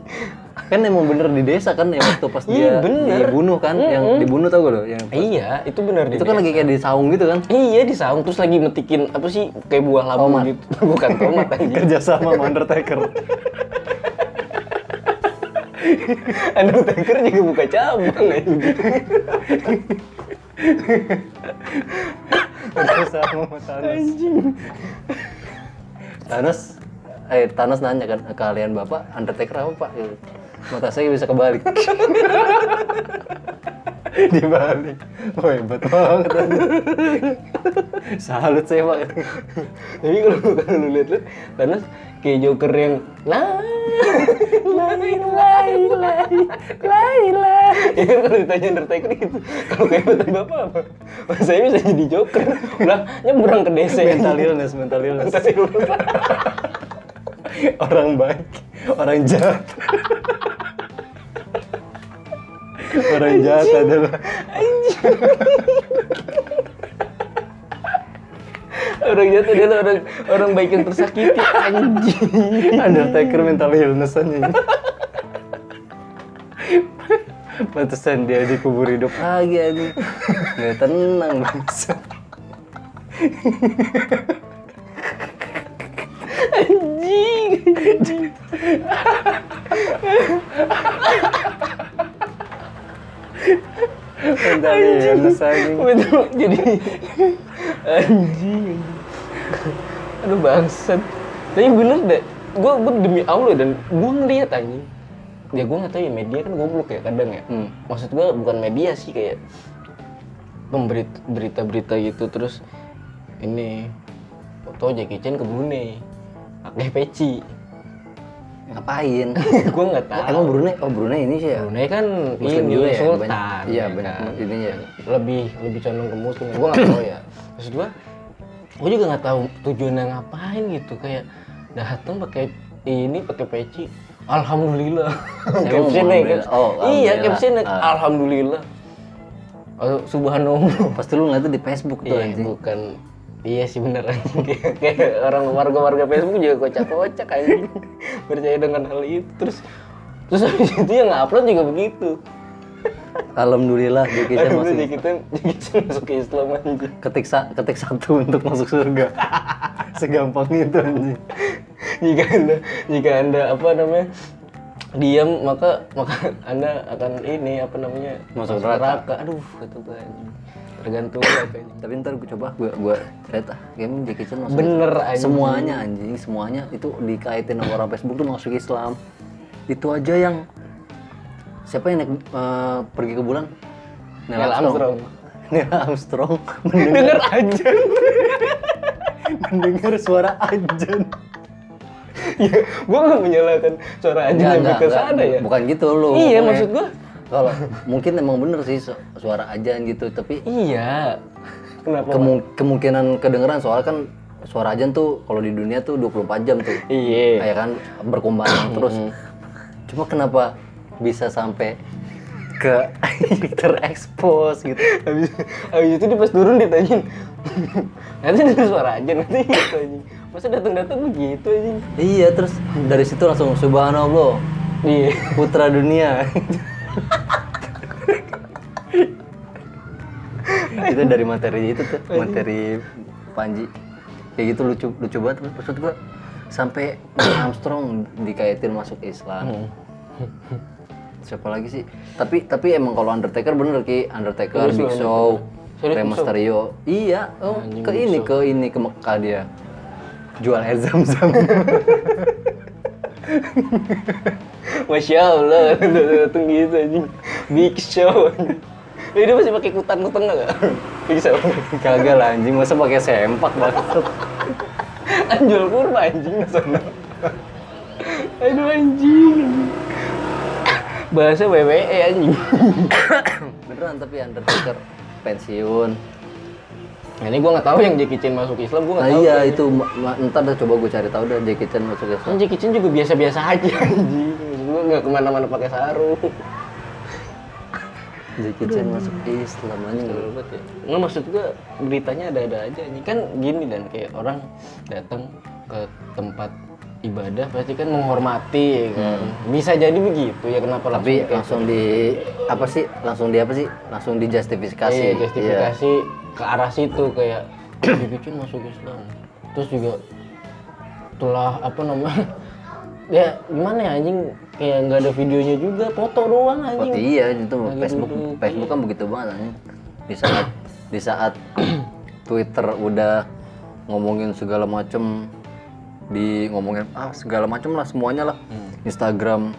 S1: kan emang bener di desa kan ya waktu pas dia
S2: Iya, bener.
S1: dibunuh kan yang dibunuh tau gak lo yang
S2: iya itu benar
S1: itu kan lagi kayak di saung gitu *laughs* kan
S2: Iya di saung terus lagi metikin apa sih kayak buah labu
S1: Tomat.
S2: gitu. *laughs* Bukan tomat anjing. *laughs*
S1: kerjasama sama Undertaker
S2: Undertaker juga buka cabang anjing.
S1: kerjasama sama Thanos
S2: anjing.
S1: Thanos eh Thanos nanya kan kalian bapak Undertaker apa pak gitu. mata saya bisa kebalik *laughs* dibalik oh hebat banget salut saya pak
S2: *laughs* Tapi kalau kalau lu lihat lu Thanos kayak Joker yang lah
S1: lai lai lai lai
S2: *laughs*
S1: lai
S2: ya kan kalau ditanya Undertaker gitu kalau kayak mantan bapak apa Wah, saya bisa jadi Joker udah nyebrang ke DC
S1: mental illness mental illness
S2: Mental illness.
S1: orang baik orang jahat orang jahat adalah
S2: orang jatuh dia orang orang baik yang tersakiti anjing
S1: *laughs* Undertaker mental ya. illness anjing. Pantesan dia dikubur hidup lagi anjing. Gak tenang bangsa.
S2: anjing anjing
S1: Mental illness anjing.
S2: Betul, jadi anjing aduh bangsat tapi bener deh gue demi allah dan gue ngeliat anjing ya gue nggak tahu ya media kan goblok ya kadang ya
S1: Hmm.
S2: maksud gue bukan media sih kayak pemberit- berita-berita gitu terus ini foto Jackie Chan ke Brunei pakai peci *laughs*
S1: Ngapain?
S2: gue nggak tahu
S1: Emang Brunei? Oh Brunei ini sih ya.
S2: Brunei kan
S1: Muslim
S2: ini
S1: juga ya,
S2: sultan.
S1: banyak- iya,
S2: ya
S1: banyak-
S2: kan?
S1: ini ya.
S2: Lebih lebih condong ke muslim. Gua nggak tahu ya. *coughs* Maksud gua, gua juga nggak tahu tujuannya ngapain gitu kayak datang pakai ini pakai peci. *laughs* Alhamdulillah. captionnya
S1: alhamdulillah.
S2: kan.
S1: Oh,
S2: iya,
S1: alhamdulillah.
S2: captionnya
S1: Ah.
S2: alhamdulillah. Oh, subhanallah.
S1: Pasti lu ngeliatnya di Facebook tuh
S2: *laughs* Iya,
S1: anjing.
S2: bukan Iya sih bener anjing *laughs* kayak, kayak orang warga-warga Facebook juga kocak-kocak *laughs* anjing percaya dengan hal itu terus terus habis itu yang upload juga begitu
S1: Alhamdulillah Jackie Chan
S2: Aduh,
S1: masuk.
S2: jadi kita jadi kita masuk ke Islam anjing.
S1: Ketik, sa- ketik satu untuk masuk surga. *laughs* Segampang itu anjing.
S2: *laughs* Jika anda jika anda apa namanya diam maka maka anda akan ini apa namanya
S1: Masuk
S2: Aduh kata gue anjing. Tergantung lu apa ini.
S1: Tapi ntar gue coba, gue gue ternyata ah, game Jackie Chan masuk.
S2: Bener anjing.
S1: semuanya anjing semuanya itu dikaitin sama orang Facebook tuh masuk Islam itu aja yang siapa yang naik eh, pergi ke bulan? Neil
S2: Neil Armstrong.
S1: *laughs* Neil Armstrong *laughs* mendengar,
S2: Denger aja.
S1: mendengar suara ajan.
S2: *laughs* ya, gue gak menyalahkan suara aja
S1: Enggak,
S2: lebih
S1: enggak,
S2: ke
S1: enggak.
S2: sana ya.
S1: Bukan gitu lu. ngomongnya.
S2: Iya, maksud gua.
S1: Kalau mungkin emang bener sih su- suara ajan gitu, tapi
S2: Iya. Kenapa?
S1: kemu- kemungkinan kedengeran soalnya kan suara ajan tuh kalau di dunia tuh 24 jam tuh.
S2: Iya.
S1: ya kan berkumandang terus cuma kenapa bisa sampai ke *laughs* terekspos gitu
S2: Habis, habis itu dia pas turun ditanyain. *laughs* nanti dengar suara aja nanti gitu anjing. Masa datang-datang begitu anjing.
S1: iya terus dari situ langsung subhanallah
S2: Iya.
S1: putra dunia itu dari materi itu tuh materi Panji kayak gitu lucu lucu banget maksud gua sampai Armstrong dikaitin masuk Islam
S2: Hmm.
S1: siapa lagi sih tapi tapi emang kalau Undertaker bener ki Undertaker
S2: Iya sih,
S1: Big Show Rey
S2: Serius, Big Show?
S1: Mysterio iya oh,
S2: Anjing,
S1: ke
S2: Big
S1: ini ke ini ke Mekah dia jual air zam-zam *laughs*
S2: Masya Allah, datang gitu anjing. Big show. anjing. Ya, dia masih pakai kutan ke tengah gak? Big show.
S1: kagak lah anjing masa pakai sempak banget
S2: Anjol kurma anjing ke sana. Aduh anjing. Bahasa WWE anjing.
S1: beneran tapi Undertaker pensiun
S2: Nah, ini gua nggak tahu yang Jackie Chan masuk Islam, gua
S1: nah
S2: nggak tahu. ya.
S1: iya itu ma- ma- ntar dah coba gue cari tahu dah Jackie Chan masuk ya, Islam
S2: Kan Jackie Chan juga biasa-biasa aja anjing. Gua nggak kemana-mana pakai sarung.
S1: Jackie Chan masuk Islam anjing
S2: Bener banget ya. Nggak maksud gua beritanya ada-ada aja anjing. Kan gini dan kayak orang datang ke tempat ibadah pasti kan menghormati ya kan. Bisa jadi begitu ya kenapa
S1: Hmm. tapi ah, langsung
S2: langsung kayak-
S1: di apa sih langsung di apa sih langsung dijustifikasi
S2: Iya, justifikasi ke arah situ kayak Jackie Chan masuk Islam. Terus juga telah apa namanya? *laughs* ya gimana ya anjing kayak nggak ada videonya juga, foto doang
S1: Iya. Oh,
S2: anjing.
S1: iya itu
S2: Lagi
S1: Facebook
S2: duduk,
S1: Facebook kan begitu banget anjing di saat di saat *clears throat* Twitter udah ngomongin segala macem di ngomongin ah segala macem lah semuanya lah Instagram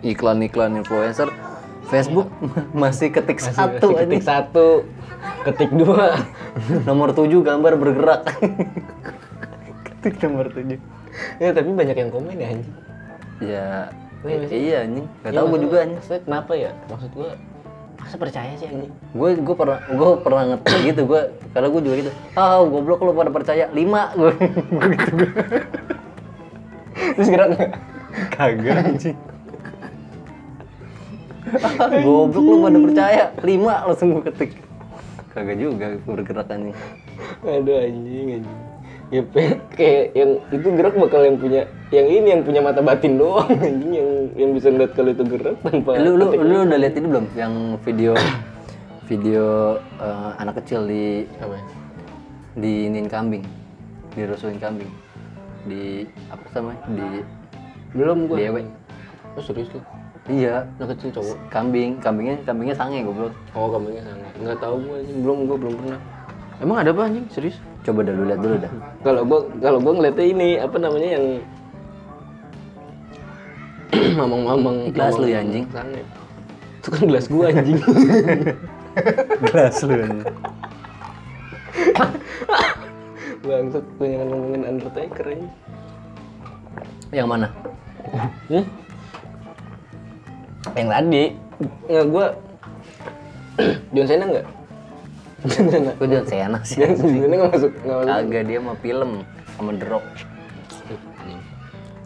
S1: iklan-iklan influencer Facebook *laughs* masih ketik satu
S2: Masih
S1: anjing.
S2: ketik satu, ketik dua.
S1: *laughs*
S2: *laughs*
S1: nomor 7 gambar bergerak *laughs* ketik nomor 7
S2: ya tapi banyak yang komen ya anjing.
S1: ya
S2: Iya,
S1: i- iya anjing gak
S2: Ya,
S1: tau gue
S2: maksud-
S1: juga anjing
S2: maksudnya Kenapa ya? Maksud gua masa percaya sih anjing?
S1: gue gue pernah gue pernah ngetik gitu gue karena gue juga gitu ah goblok lu pada percaya lima *laughs* gue gitu gue
S2: Terus gerak nggak?
S1: kagak anjing ah, goblok lu pada percaya lima langsung gue ketik kagak juga gue bergerak anjing
S2: *laughs* Aduh anjing anjing. Ya pe- kayak yang itu gerak bakal yang punya yang ini yang punya mata batin doang *laughs* anjing yang yang bisa ngeliat kalau itu gerak tanpa
S1: Eh, lu lu lu udah lihat ini belum yang video video eh, anak kecil di
S2: apa ya?
S1: diinin kambing dirusuhin kambing di apa sih namanya di
S2: Belum gua.
S1: Dewe.
S2: Oh, serius lu?
S1: iya
S2: Anak kecil cowok.
S1: kambing kambingnya kambingnya sange goblok
S2: Oh, kamunya sana. Enggak tahu gua anjing, belum gua belum pernah. Emang ada apa anjing? Serius?
S1: coba dah lu lihat dulu *laughs* dah
S2: Kalau gua kalau gua ngeliatnya ini apa namanya yang *clears throat* mamang-mamang
S1: Gelas lu
S2: mamang-
S1: ya, anjing.
S2: sange. Itu kan gelas gua anjing.
S1: *laughs* gelas lu
S2: Bangsat gua jangan ngomongin Undertaker anjing.
S1: yang mana
S2: Hmm? Yang tadi nggak gua *clears throat* John Cena nggak? John Cena. *laughs*
S1: gue jangan sena sih
S2: John Cena nggak masuk nggak masuk.
S1: agak dia mau film sama The Rock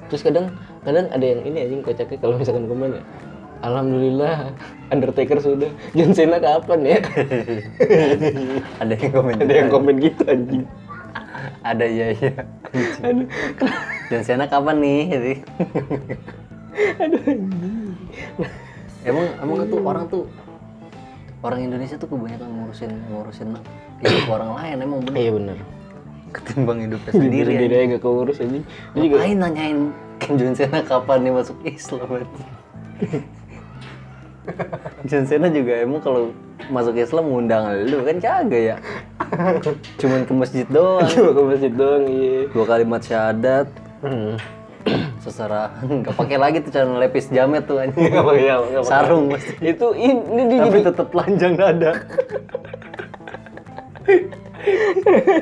S2: Terus kadang kadang ada yang ini anjing kocaknya kalau misalkan komen ya. Alhamdulillah Undertaker sudah. John Cena kapan ya?
S1: *laughs* ada yang komen
S2: *laughs* ada yang komen gitu anjing.
S1: ada ya ya
S2: Aduh,
S1: John Cena kapan nih *laughs* Jadi,
S2: aduh anjing.
S1: emang emang tuh orang tuh orang Indonesia tuh kebanyakan ngurusin ngurusin hidup orang lain emang bener
S2: Iya benar.
S1: ketimbang hidupnya
S2: Sendiri
S1: sendiri
S2: aja gak keurus anjing. Dia juga *laughs*
S1: Ngapain nanyain Ken John Cena kapan nih masuk Islam anjing? John Cena juga emang kalau masuk Islam ngundang lu kan kagak ya cuman ke masjid doang
S2: cuma ke masjid doang iya.
S1: dua kalimat syahadat
S2: Hmm.
S1: *clears throat* seserahan nggak pakai lagi tuh celana lepis jamet tuh anjing
S2: *laughs* Nggak pakai, nggak pakai.
S1: sarung pasti
S2: itu ini, ini dia
S1: tapi *laughs*
S2: jadi
S1: tetap telanjang dada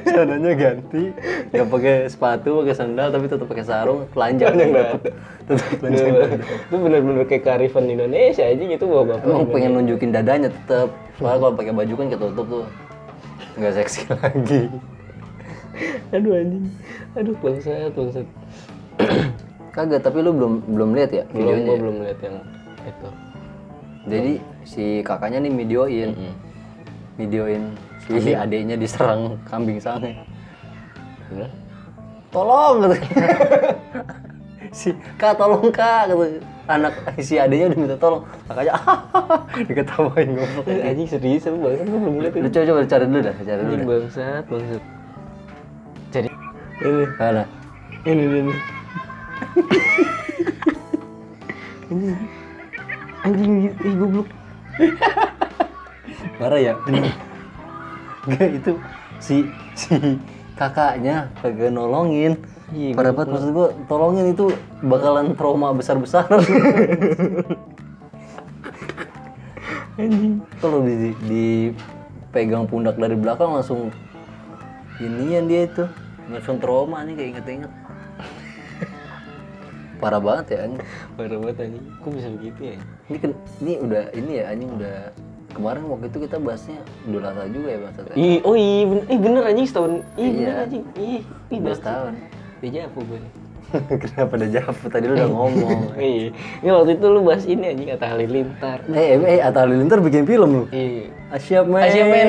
S1: celananya ganti nggak pakai sepatu pakai sandal tapi tetap pakai sarung telanjang
S2: Telanjang Iya. dada.
S1: tetap tetap telanjang
S2: Bener-bener.
S1: dada
S2: itu benar-benar kayak kearifan di Indonesia aja gitu bawa bapak
S1: emang ya? pengen nunjukin dadanya tetap soalnya kalau pakai baju kan ketutup tuh nggak seksi *laughs* lagi
S2: aduh anjing aduh bangsat bangsat
S1: kagak tapi lu belum belum lihat ya
S2: belum
S1: videonya
S2: gua
S1: ya?
S2: belum lihat yang itu
S1: jadi si kakaknya nih videoin videoin si adeknya diserang kambing sange
S2: Bener?
S1: tolong gitu. *laughs* si kak tolong kak gitu. anak si adiknya udah minta tolong kakaknya *laughs* diketawain ngomong
S2: Eh, anjing serius apa bangsat gua belum lihat
S1: lu coba coba cari dulu dah cari dulu
S2: anjing
S1: dah
S2: bangsat bangsat jadi ini
S1: mana
S2: ini ini, ini anjing anjing ih goblok
S1: marah ya Enggak itu si si kakaknya kagak nolongin
S2: Iya,
S1: Parah banget maksud gua tolongin itu bakalan trauma besar-besaran
S2: anjing
S1: kalau di, dipegang pundak dari belakang langsung inian dia itu langsung trauma nih kayak inget-inget parah banget ya anjing
S2: parah banget anjing kok bisa begitu ya
S1: ini ken- ini udah ini ya anjing udah kemarin waktu itu kita bahasnya udah lama juga ya bahasa teh
S2: Ih, oh iya bener, ih bener anjing setahun. Ih bener
S1: Iya.
S2: anjing. Ih, ih
S1: udah setahun Iya,
S2: Beja apa gue nih?
S1: *laughs* kenapa udah jawab tadi lu udah ngomong
S2: Iya. Ini waktu itu lu bahas ini anjing kata halilintar.
S1: *laughs* eh eh, eh Atta Halilintar bikin film lu
S2: Iya.
S1: Asia men
S2: Asia
S1: *laughs*
S2: Men.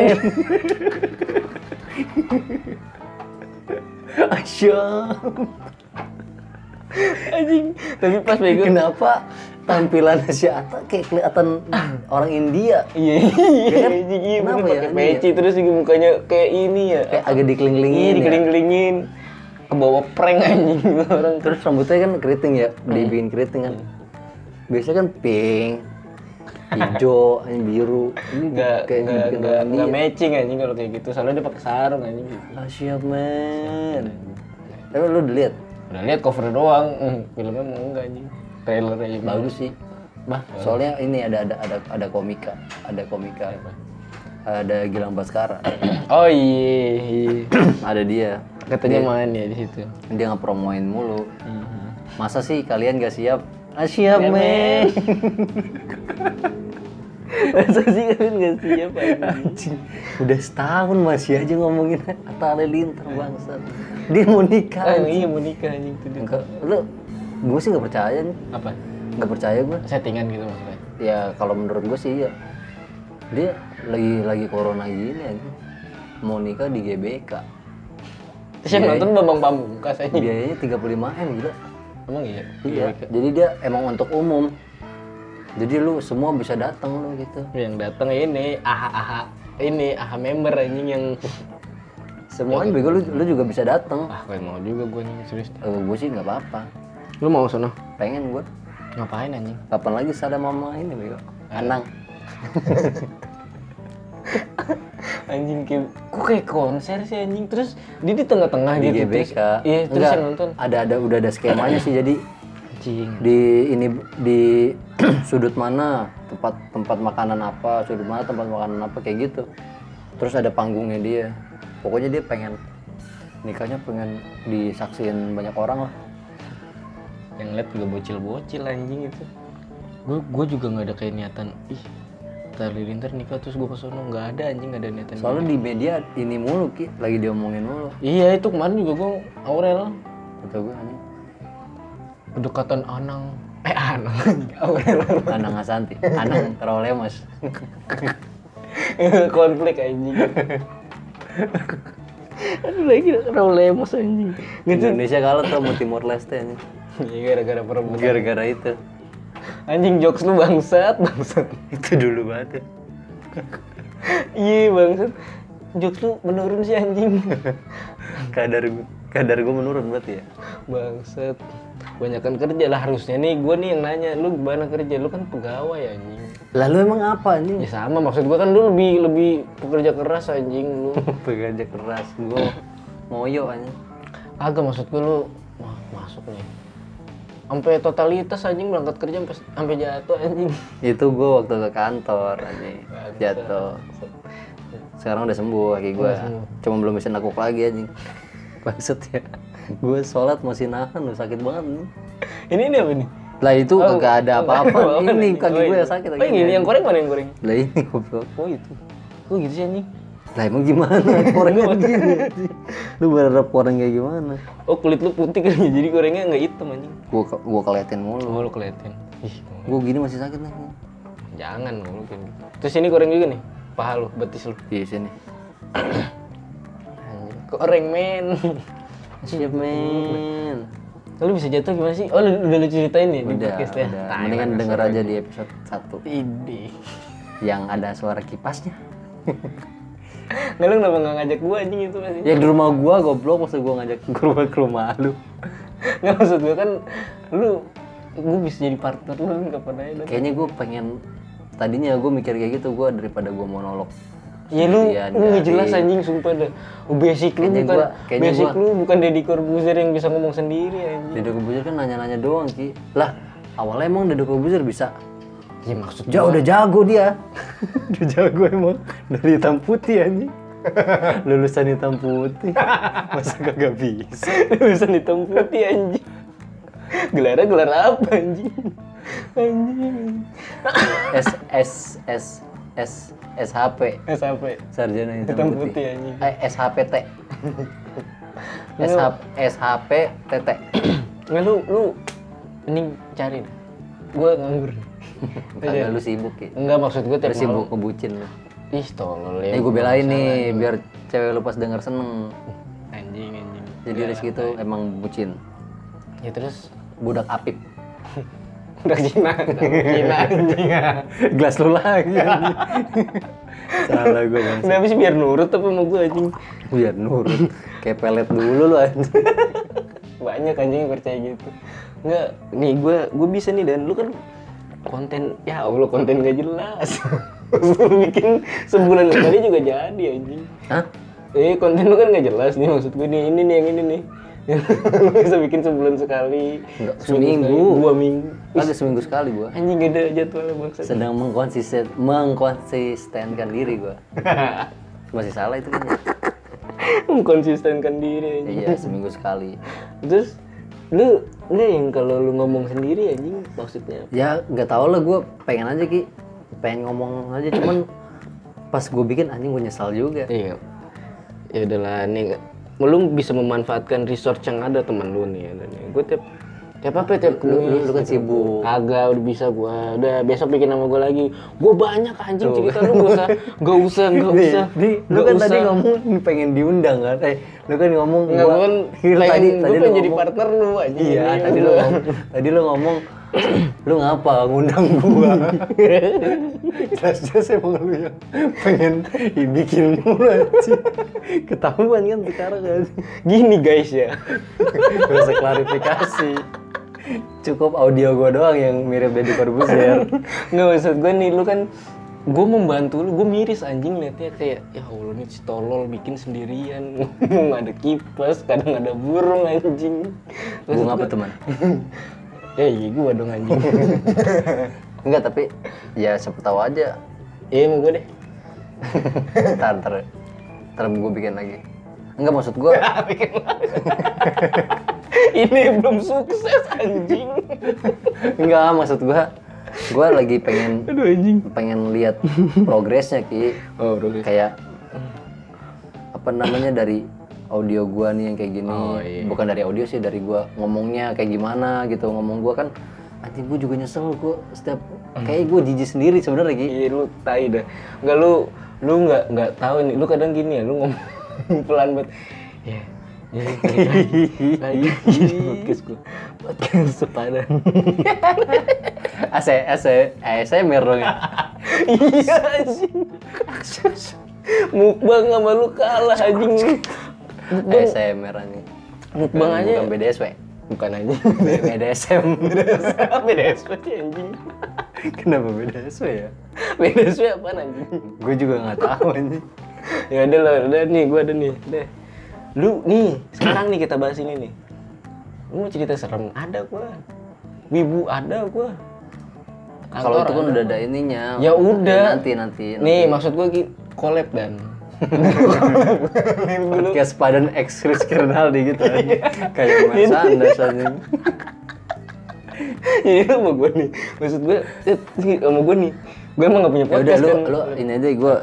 S1: Asia
S2: Anjing. Tapi pas bego.
S1: kenapa tampilan Asia Atta kayak kelihatan orang India
S2: Iya.
S1: Ya
S2: Iya
S1: kan?
S2: anjing. Iya bener
S1: Kenapa ya,
S2: pakai
S1: anjing
S2: peci terus juga mukanya kayak ini ya.
S1: kayak agak
S2: Iya
S1: dikeling-kelingin ya.
S2: dikeling-kelingin. Kebawa prank anjing orang.
S1: terus rambutnya kan keriting ya dibikin keriting kan biasanya kan pink hijau ini biru ini kayak
S2: Enggak
S1: iya.
S2: enggak
S1: dibikin
S2: enggak
S1: orang
S2: enggak
S1: India
S2: matching anjing kalau kayak gitu. Soalnya dia pakai sarung anjing.
S1: Asia men Ah, tapi lu udah lihat
S2: Udah lihat cover doang. Hmm, filmnya mau enggak anjing. Trailernya aja.
S1: bagus sih bah soalnya ini ada ada ada ada komika ada komika ada Gilang Baskara
S2: Oh iya, iya.
S1: ada dia
S2: katanya
S1: Iya.
S2: main ya di situ.
S1: dia ngepromoin mulu masa sih kalian gak siap ah, siap men
S2: Masa sih kalian nggak siap anjing?
S1: Anjing, udah setahun masih aja ngomongin Atta Halilintar bangsat dia mau
S2: Ah,
S1: nikah
S2: iya mau nikah anjing itu dia.
S1: enggak lu gue sih nggak percaya nih
S2: Apa?
S1: nggak percaya gue
S2: Settingan gitu maksudnya.
S1: ya kalau menurut gue sih iya dia lagi lagi corona gini anjing. mau nikah di GBK
S2: Terus yang nonton Bambang Pamungkas anjing.
S1: biayanya 35 m gila
S2: Emang iya?
S1: iya jadi dia emang untuk umum jadi lu semua bisa datang lu gitu
S2: Yang datang ini aha aha ini aha member anjing yang
S1: semuanya bego lu, lu juga bisa datang
S2: ah gue mau juga gue anjing serius.
S1: gue sih nggak apa-apa
S2: Lu mau sono?
S1: pengen gue
S2: Ngapain anjing?
S1: Kapan lagi sadar mama ini bego? Anang.
S2: Anjing kayak kok kayak konser sih anjing terus dia di tengah-tengah
S1: Di
S2: gitu terus.
S1: GBK.
S2: Iya, terus
S1: Enggak,
S2: yang nonton
S1: Ada ada udah ada skemanya sih jadi
S2: anjing.
S1: di ini di *clears throat* sudut mana tempat tempat makanan apa sudut mana tempat makanan apa kayak gitu terus ada panggungnya dia pokoknya dia pengen nikahnya pengen disaksiin banyak orang lah
S2: yang lihat juga bocil-bocil anjing itu gue gue juga nggak ada kayak niatan ih tali linter nikah terus gue kesono nggak ada anjing nggak ada niatan
S1: soalnya di media ini mulu ki lagi diomongin mulu
S2: iya itu kemarin juga gue Aurel
S1: kata gue anjing
S2: kedekatan Anang eh Anang *laughs* anjing, Aurel
S1: Anang Asanti Anang Trolemas
S2: konflik anjing aduh lagi Raul Lemos anjing gitu
S1: Indonesia kalah tuh sama Timor Leste anjing.
S2: Iya, gara-gara perebutan
S1: gara-gara itu
S2: anjing jokes lu bangsat bangsat
S1: itu dulu banget ya.
S2: iya bangsat jokes lu menurun sih anjing
S1: *laughs* kadar gu- kadar gue menurun berarti ya
S2: Bangset. Banyakan kerja lah harusnya nih gue nih yang nanya lu gimana kerja lu kan pegawai anjing.
S1: lalu emang apa anjing
S2: Ya sama maksud gue kan lu lebih lebih pekerja keras anjing lu.
S1: *laughs* pekerja keras *laughs* gue ngoyo anjing
S2: Agak maksud gue lu wah, masuk nih. sampai totalitas anjing berangkat kerja sampai sampai jatuh anjing
S1: itu gue waktu ke kantor anjing jatuh sekarang udah sembuh kaki gue cuma belum bisa nakuk lagi anjing *laughs* maksud ya gue sholat masih nahan lu sakit banget anjing.
S2: *laughs* ini ini apa nih
S1: lah itu kagak ada apa-apa ini kaki
S2: Oh,
S1: gue
S2: ini.
S1: yang sakit
S2: oh yang ini yang goreng mana yang goreng
S1: lah ini goblok
S2: oh itu kok gitu sih anjing
S1: lah emang gimana
S2: *laughs*
S1: korengan gini anjing? lu berharap koreng kayak gimana
S2: oh kulit lu putih kali ya, *laughs* jadi gorengnya nggak hitam anjing
S1: gue gue keliatin mulu
S2: oh lu kelihatan ih
S1: gue gini masih sakit nih
S2: jangan lu kayak gitu terus ini goreng juga nih paha lu betis lu
S1: di sini
S2: anjing goreng men
S1: siap men
S2: *laughs* Lu bisa jatuh gimana sih? Oh, lu- udah lu ceritain nih di
S1: udah,
S2: podcast ya.
S1: udah. mendingan denger aja di episode 1
S2: Ide. *laughs*
S1: yang ada suara kipasnya
S2: Nggak Nah, lu kenapa nggak ngajak gua anjing itu masih?
S1: ya di rumah gua goblok maksud gua ngajak ke rumah ke rumah lu
S2: Nggak maksud gua kan lu gua bisa jadi partner lu kan kapan aja. Dan.
S1: kayaknya gua pengen tadinya gua mikir kayak gitu gua daripada gua monolog
S2: Ya lu
S1: Iya,
S2: lu
S1: dari-
S2: nggak jelas anjing sumpah dah. Basic lu
S1: Kayaknya
S2: bukan
S1: gua- kayaknya
S2: basic
S1: gua-
S2: lu bukan Deddy Corbuzier yang bisa ngomong sendiri anjing.
S1: Dedek Kobuzer kan nanya-nanya doang ki lah awalnya emang Dedek Kobuzer bisa Iya,
S2: Ya maksud *laughs*
S1: Ja, udah jago dia *laughs* udah jago emang dari hitam putih anjing *laughs* lulusan hitam putih *laughs* masa kagak bisa
S2: tulisan hitam putih anjing. Gelarnya gelar apa anjing? Anjing.
S1: S S S S SHP
S2: Eh sampai
S1: sarjana hitam,
S2: hitam
S1: putih.
S2: putih anjing.
S1: Eh, SHPT. SH, SHPTT.
S2: Nggak lu, lu mending cari deh. Gue
S1: *laughs*
S2: nganggur.
S1: Kagak lu sibuk ya.
S2: Enggak maksud gue
S1: Lu
S2: tiap malam.
S1: sibuk kebucin lu.
S2: Ih tolol ya.
S1: Eh gue belain nih biar cewek lu pas denger seneng.
S2: Anjing anjing.
S1: Jadi Rizky itu emang bucin.
S2: Ya terus
S1: Budak apik.
S2: udah Cina, *laughs* Cina anjing.
S1: *laughs* Gelas lu lagi. Salah gue bang.
S2: Udah habis biar nurut apa sama gue anjing.
S1: Biar nurut. Kayak pelet dulu lu anjing.
S2: Banyak anjing yang percaya gitu. Enggak, nih gue gue bisa nih dan lu kan konten ya Allah konten gak jelas. *laughs* Lu bikin sebulan sekali juga jadi anjing.
S1: Hah?
S2: Eh konten lu kan nggak jelas nih maksud gue nih ini nih yang ini nih. *laughs* Lu bisa bikin sebulan sekali.
S1: Nggak,
S2: sebulan
S1: seminggu.
S2: sekali, Dua minggu.
S1: Kagak seminggu sekali gua.
S2: Anjing gak ada jadwalnya bangsa. *laughs*
S1: Sedang mengkonsisten mengkonsistenkan diri gua. Masih salah itu kan.
S2: Mengkonsistenkan diri anjing.
S1: Iya, seminggu sekali.
S2: Terus lu nggak yang kalau lu ngomong sendiri anjing maksudnya
S1: ya nggak tahu lah gue pengen aja ki pengen ngomong aja cuman pas gue bikin anjing gue nyesal juga
S2: Iya. Ya udahlah nih lu bisa memanfaatkan resource yang ada teman lu nih. Gue tiap tiap apa ya, tiap
S1: lu, lu,
S2: nulis.
S1: lu kan sibuk
S2: Kagak udah bisa gua. Udah besok bikin nama gua lagi. Gua banyak anjing cerita lu gak usah gak usah gak
S1: Nih,
S2: usah.
S1: nih, lu
S2: Nggak
S1: kan
S2: usah.
S1: tadi ngomong pengen diundang kan eh lu kan ngomong
S2: Nggak, gua kan
S1: Lu
S2: pengen,
S1: *laughs* tadi tadi
S2: gua
S1: lu
S2: pengen jadi
S1: ngomong-
S2: partner lu aja.
S1: iya tadi lu ngomong tadi lu ngomong lu ngapa ngundang
S2: *laughs*
S1: gua jelas-jelas emang lu yang pengen dibikin mulu anjing ketahuan kan sekarang kan
S2: Gini guys ya.
S1: Gak usah klarifikasi. Cukup audio gue doang yang mirip Deddy Corbuzier.
S2: Nggak maksud gua nih lu kan gue membantu lu, gue miris anjing liatnya kayak ya Allah nih si tolol bikin sendirian ngomong ada kipas, kadang ada burung anjing
S1: gue ngapa teman?
S2: ya iya gue dong anjing
S1: Enggak tapi ya siapa tahu aja.
S2: iya emang gue deh
S1: Ntar ntar ntar gue bikin lagi. Enggak maksud gue.
S2: ini belum sukses anjing
S1: Enggak maksud gue. Gue lagi pengen
S2: aduh anjing
S1: pengen lihat progresnya ki.
S2: oh bro
S1: Kayak
S2: Hmm.
S1: apa namanya dari audio gua nih yang kayak gini
S2: Oh, iya.
S1: bukan dari audio sih dari gua ngomongnya kayak gimana gitu ngomong gua kan anjing gua juga nyesel gua setiap kayak gua jijik sendiri sebenarnya Ki.
S2: Hmm. iya lu tai dah nggak lu lu nggak nggak tahu nih lu kadang gini ya lu ngomong pelan banget ya jadi lagi podcast gue podcast sepadan
S1: AC AC ASMR dong
S2: *laughs*
S1: ya.
S2: iya anjing mukbang sama lu kalah anjing lu
S1: ASMR anjing.
S2: mukbang aja
S1: Eh, Bukan BDSW.
S2: bukan anjing
S1: BDSM.
S2: *laughs* beda SP anjing
S1: Kenapa BDSW ya?
S2: beda SP apaan anjing
S1: Gua juga nggak tahu anjing.
S2: ya udah lah udah nih gua ada nih deh lu nih sekarang nih kita bahas ini nih lu mau cerita serem ada gua wibu ada gua
S1: Kalau itu
S2: Kantor
S1: kan
S2: ada.
S1: udah ada ininya.
S2: Ya udah.
S1: Nanti nanti.
S2: nih maksud gua ki collab
S1: *laughs*
S2: dan
S1: Podcast Padan X Chris Kirnaldi
S2: *laughs*
S1: gitu. anjing. Kayak Mas Andas anjing.
S2: Iya sama gua nih maksud gua eh, sih, sama gua nih gua emang gak punya
S1: Ya udah
S2: podcast
S1: lu
S2: kan
S1: lu ini aja gue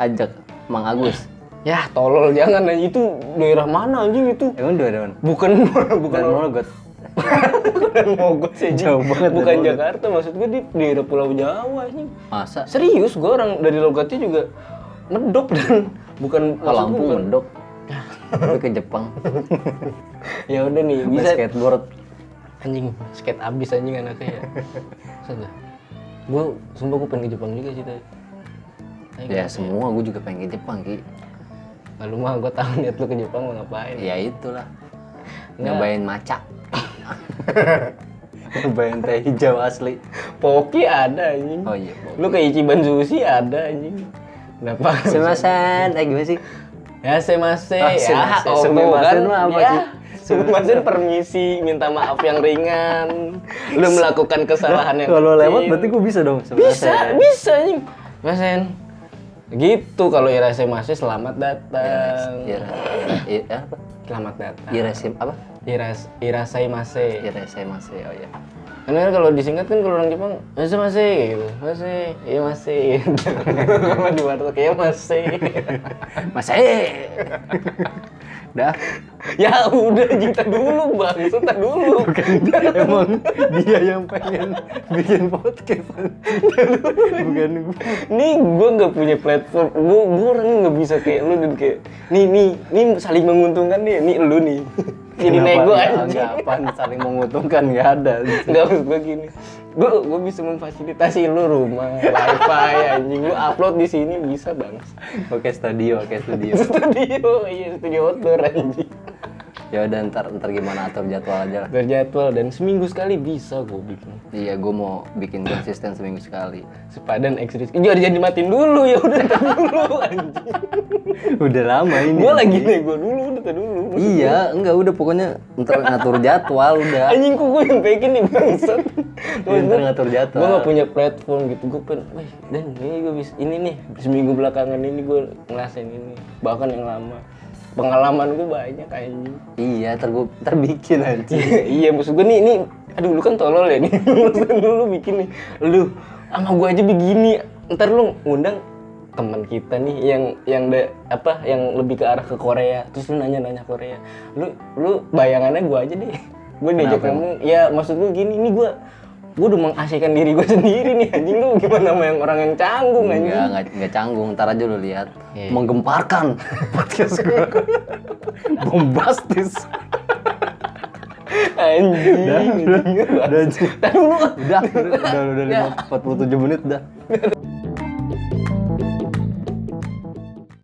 S1: ajak Mang Agus.
S2: ya tolol jangan anjing. itu daerah mana anjing itu
S1: Emang dua dewan.
S2: bukan *laughs* bukan
S1: Bukan monogot.
S2: bukan Mogot sih anjing.
S1: Jauh banget
S2: bukan
S1: dari Mogot.
S2: Jakarta maksud gua di daerah Pulau Jawa anjing
S1: Masa
S2: serius gue orang dari logatnya juga medok dan *laughs* bukan
S1: ke
S2: maksud
S1: Lampung
S2: gua bukan-
S1: mendok. Lu ke
S2: *laughs*
S1: Jepang.
S2: ya udah nih
S1: Bisa
S2: bisa
S1: skateboard.
S2: anjing skate abis anjing
S1: *laughs*
S2: anaknya ya sudah gue sumpah gue pengen ke Jepang juga sih tadi
S1: Ya semua gue juga pengen ke Jepang Ki.
S2: lalu mah gue tahu niat lu ke Jepang mau ngapain
S1: Ya itulah. Nyobain
S2: *laughs*
S1: maca. Nyobain teh hijau asli.
S2: Poki ada anjing
S1: Oh
S2: *laughs*
S1: iya.
S2: lu ke Ichiban Sushi ada anjing kenapa
S1: Semasan, eh gimana sih?
S2: ya semase
S1: Ah,
S2: ya
S1: semase.
S2: oh,
S1: Sumemasen
S2: kan
S1: mah apa
S2: ya.
S1: sih?
S2: Sumemasen permisi minta maaf yang
S1: *laughs*
S2: ringan lu melakukan kesalahan yang
S1: Kalau lewat
S2: kecil.
S1: berarti gue bisa dong
S2: bisa
S1: semasan.
S2: bisa anjing masen gitu kalau Irase masih
S1: Iya,
S2: selamat datang
S1: Ira, Ira, Ira, Iya, apa?
S2: selamat datang
S1: Ira sim apa?
S2: Iras Irasai Mase
S1: Ira saya masih oh
S2: *laughs*
S1: ya.
S2: karena kalau disingkat kan kalau orang Jepang Mase Mase kayak gitu Mase iya Mase gitu Kalau di Barat kayak "Iya, Mase
S1: Mas eh. Dah.
S2: ya udah juta dulu bang juta dulu
S1: Emang dia yang pengen bikin podcast. Bukan gue.
S2: nih gue nggak punya platform gue gue orangnya nggak bisa kayak lu dan kayak nih nih nih saling menguntungkan nih nih lu nih jadi nego aja
S1: Apaan saling menguntungkan nggak ada.
S2: Enggak maksud gue gini. Gue gue bisa memfasilitasi lu rumah, wifi anjing lu upload di sini bisa bang. *laughs*
S1: Oke studio, oke studio.
S2: Studio, iya studio outdoor anjing.
S1: Ya udah ntar ntar gimana atur jadwal aja lah.
S2: Berjadwal dan seminggu sekali bisa gue bikin.
S1: Iya, gue mau bikin konsisten seminggu sekali.
S2: Sepadan ekstris. Ini jangan dimatiin dulu ya udah tar dulu anjing.
S1: Udah lama ini.
S2: Gue lagi nego dulu udah tar dulu.
S1: Iya, enggak udah pokoknya ntar ngatur jadwal udah.
S2: Anjing kok gue yang bikin nih bangsat.
S1: Iya, ntar ngatur jadwal.
S2: Gue gak punya platform gitu, gue pengen, wih, dan ini gue bisa, ini nih, seminggu belakangan ini gue ngerasain ini, bahkan yang lama. Pengalaman gue banyak anjing.
S1: Iya, ntar gue ntar bikin aja.
S2: iya, maksud gue nih, ini, aduh lu kan tolol ya nih, *laughs* maksud lu, lu bikin nih, lu sama gue aja begini, ntar lu ngundang teman kita nih yang yang de, apa yang lebih ke arah ke Korea terus lu nanya nanya Korea lu lu bayangannya gue aja deh gue diajak ngomong ya maksud gue gini ini gue gue udah mengasihkan diri gue *laughs* sendiri nih anjing lu gimana sama yang orang yang canggung anjing
S1: Enggak, enggak, enggak canggung, ntar aja lu lihat. Menggemparkan *laughs* podcast gue. Bombastis.
S2: anjing
S1: Iya, *laughs* udah, udah, udah,
S2: Tar dulu
S1: Iya. udah, udah, udah, udah, 47 menit dah.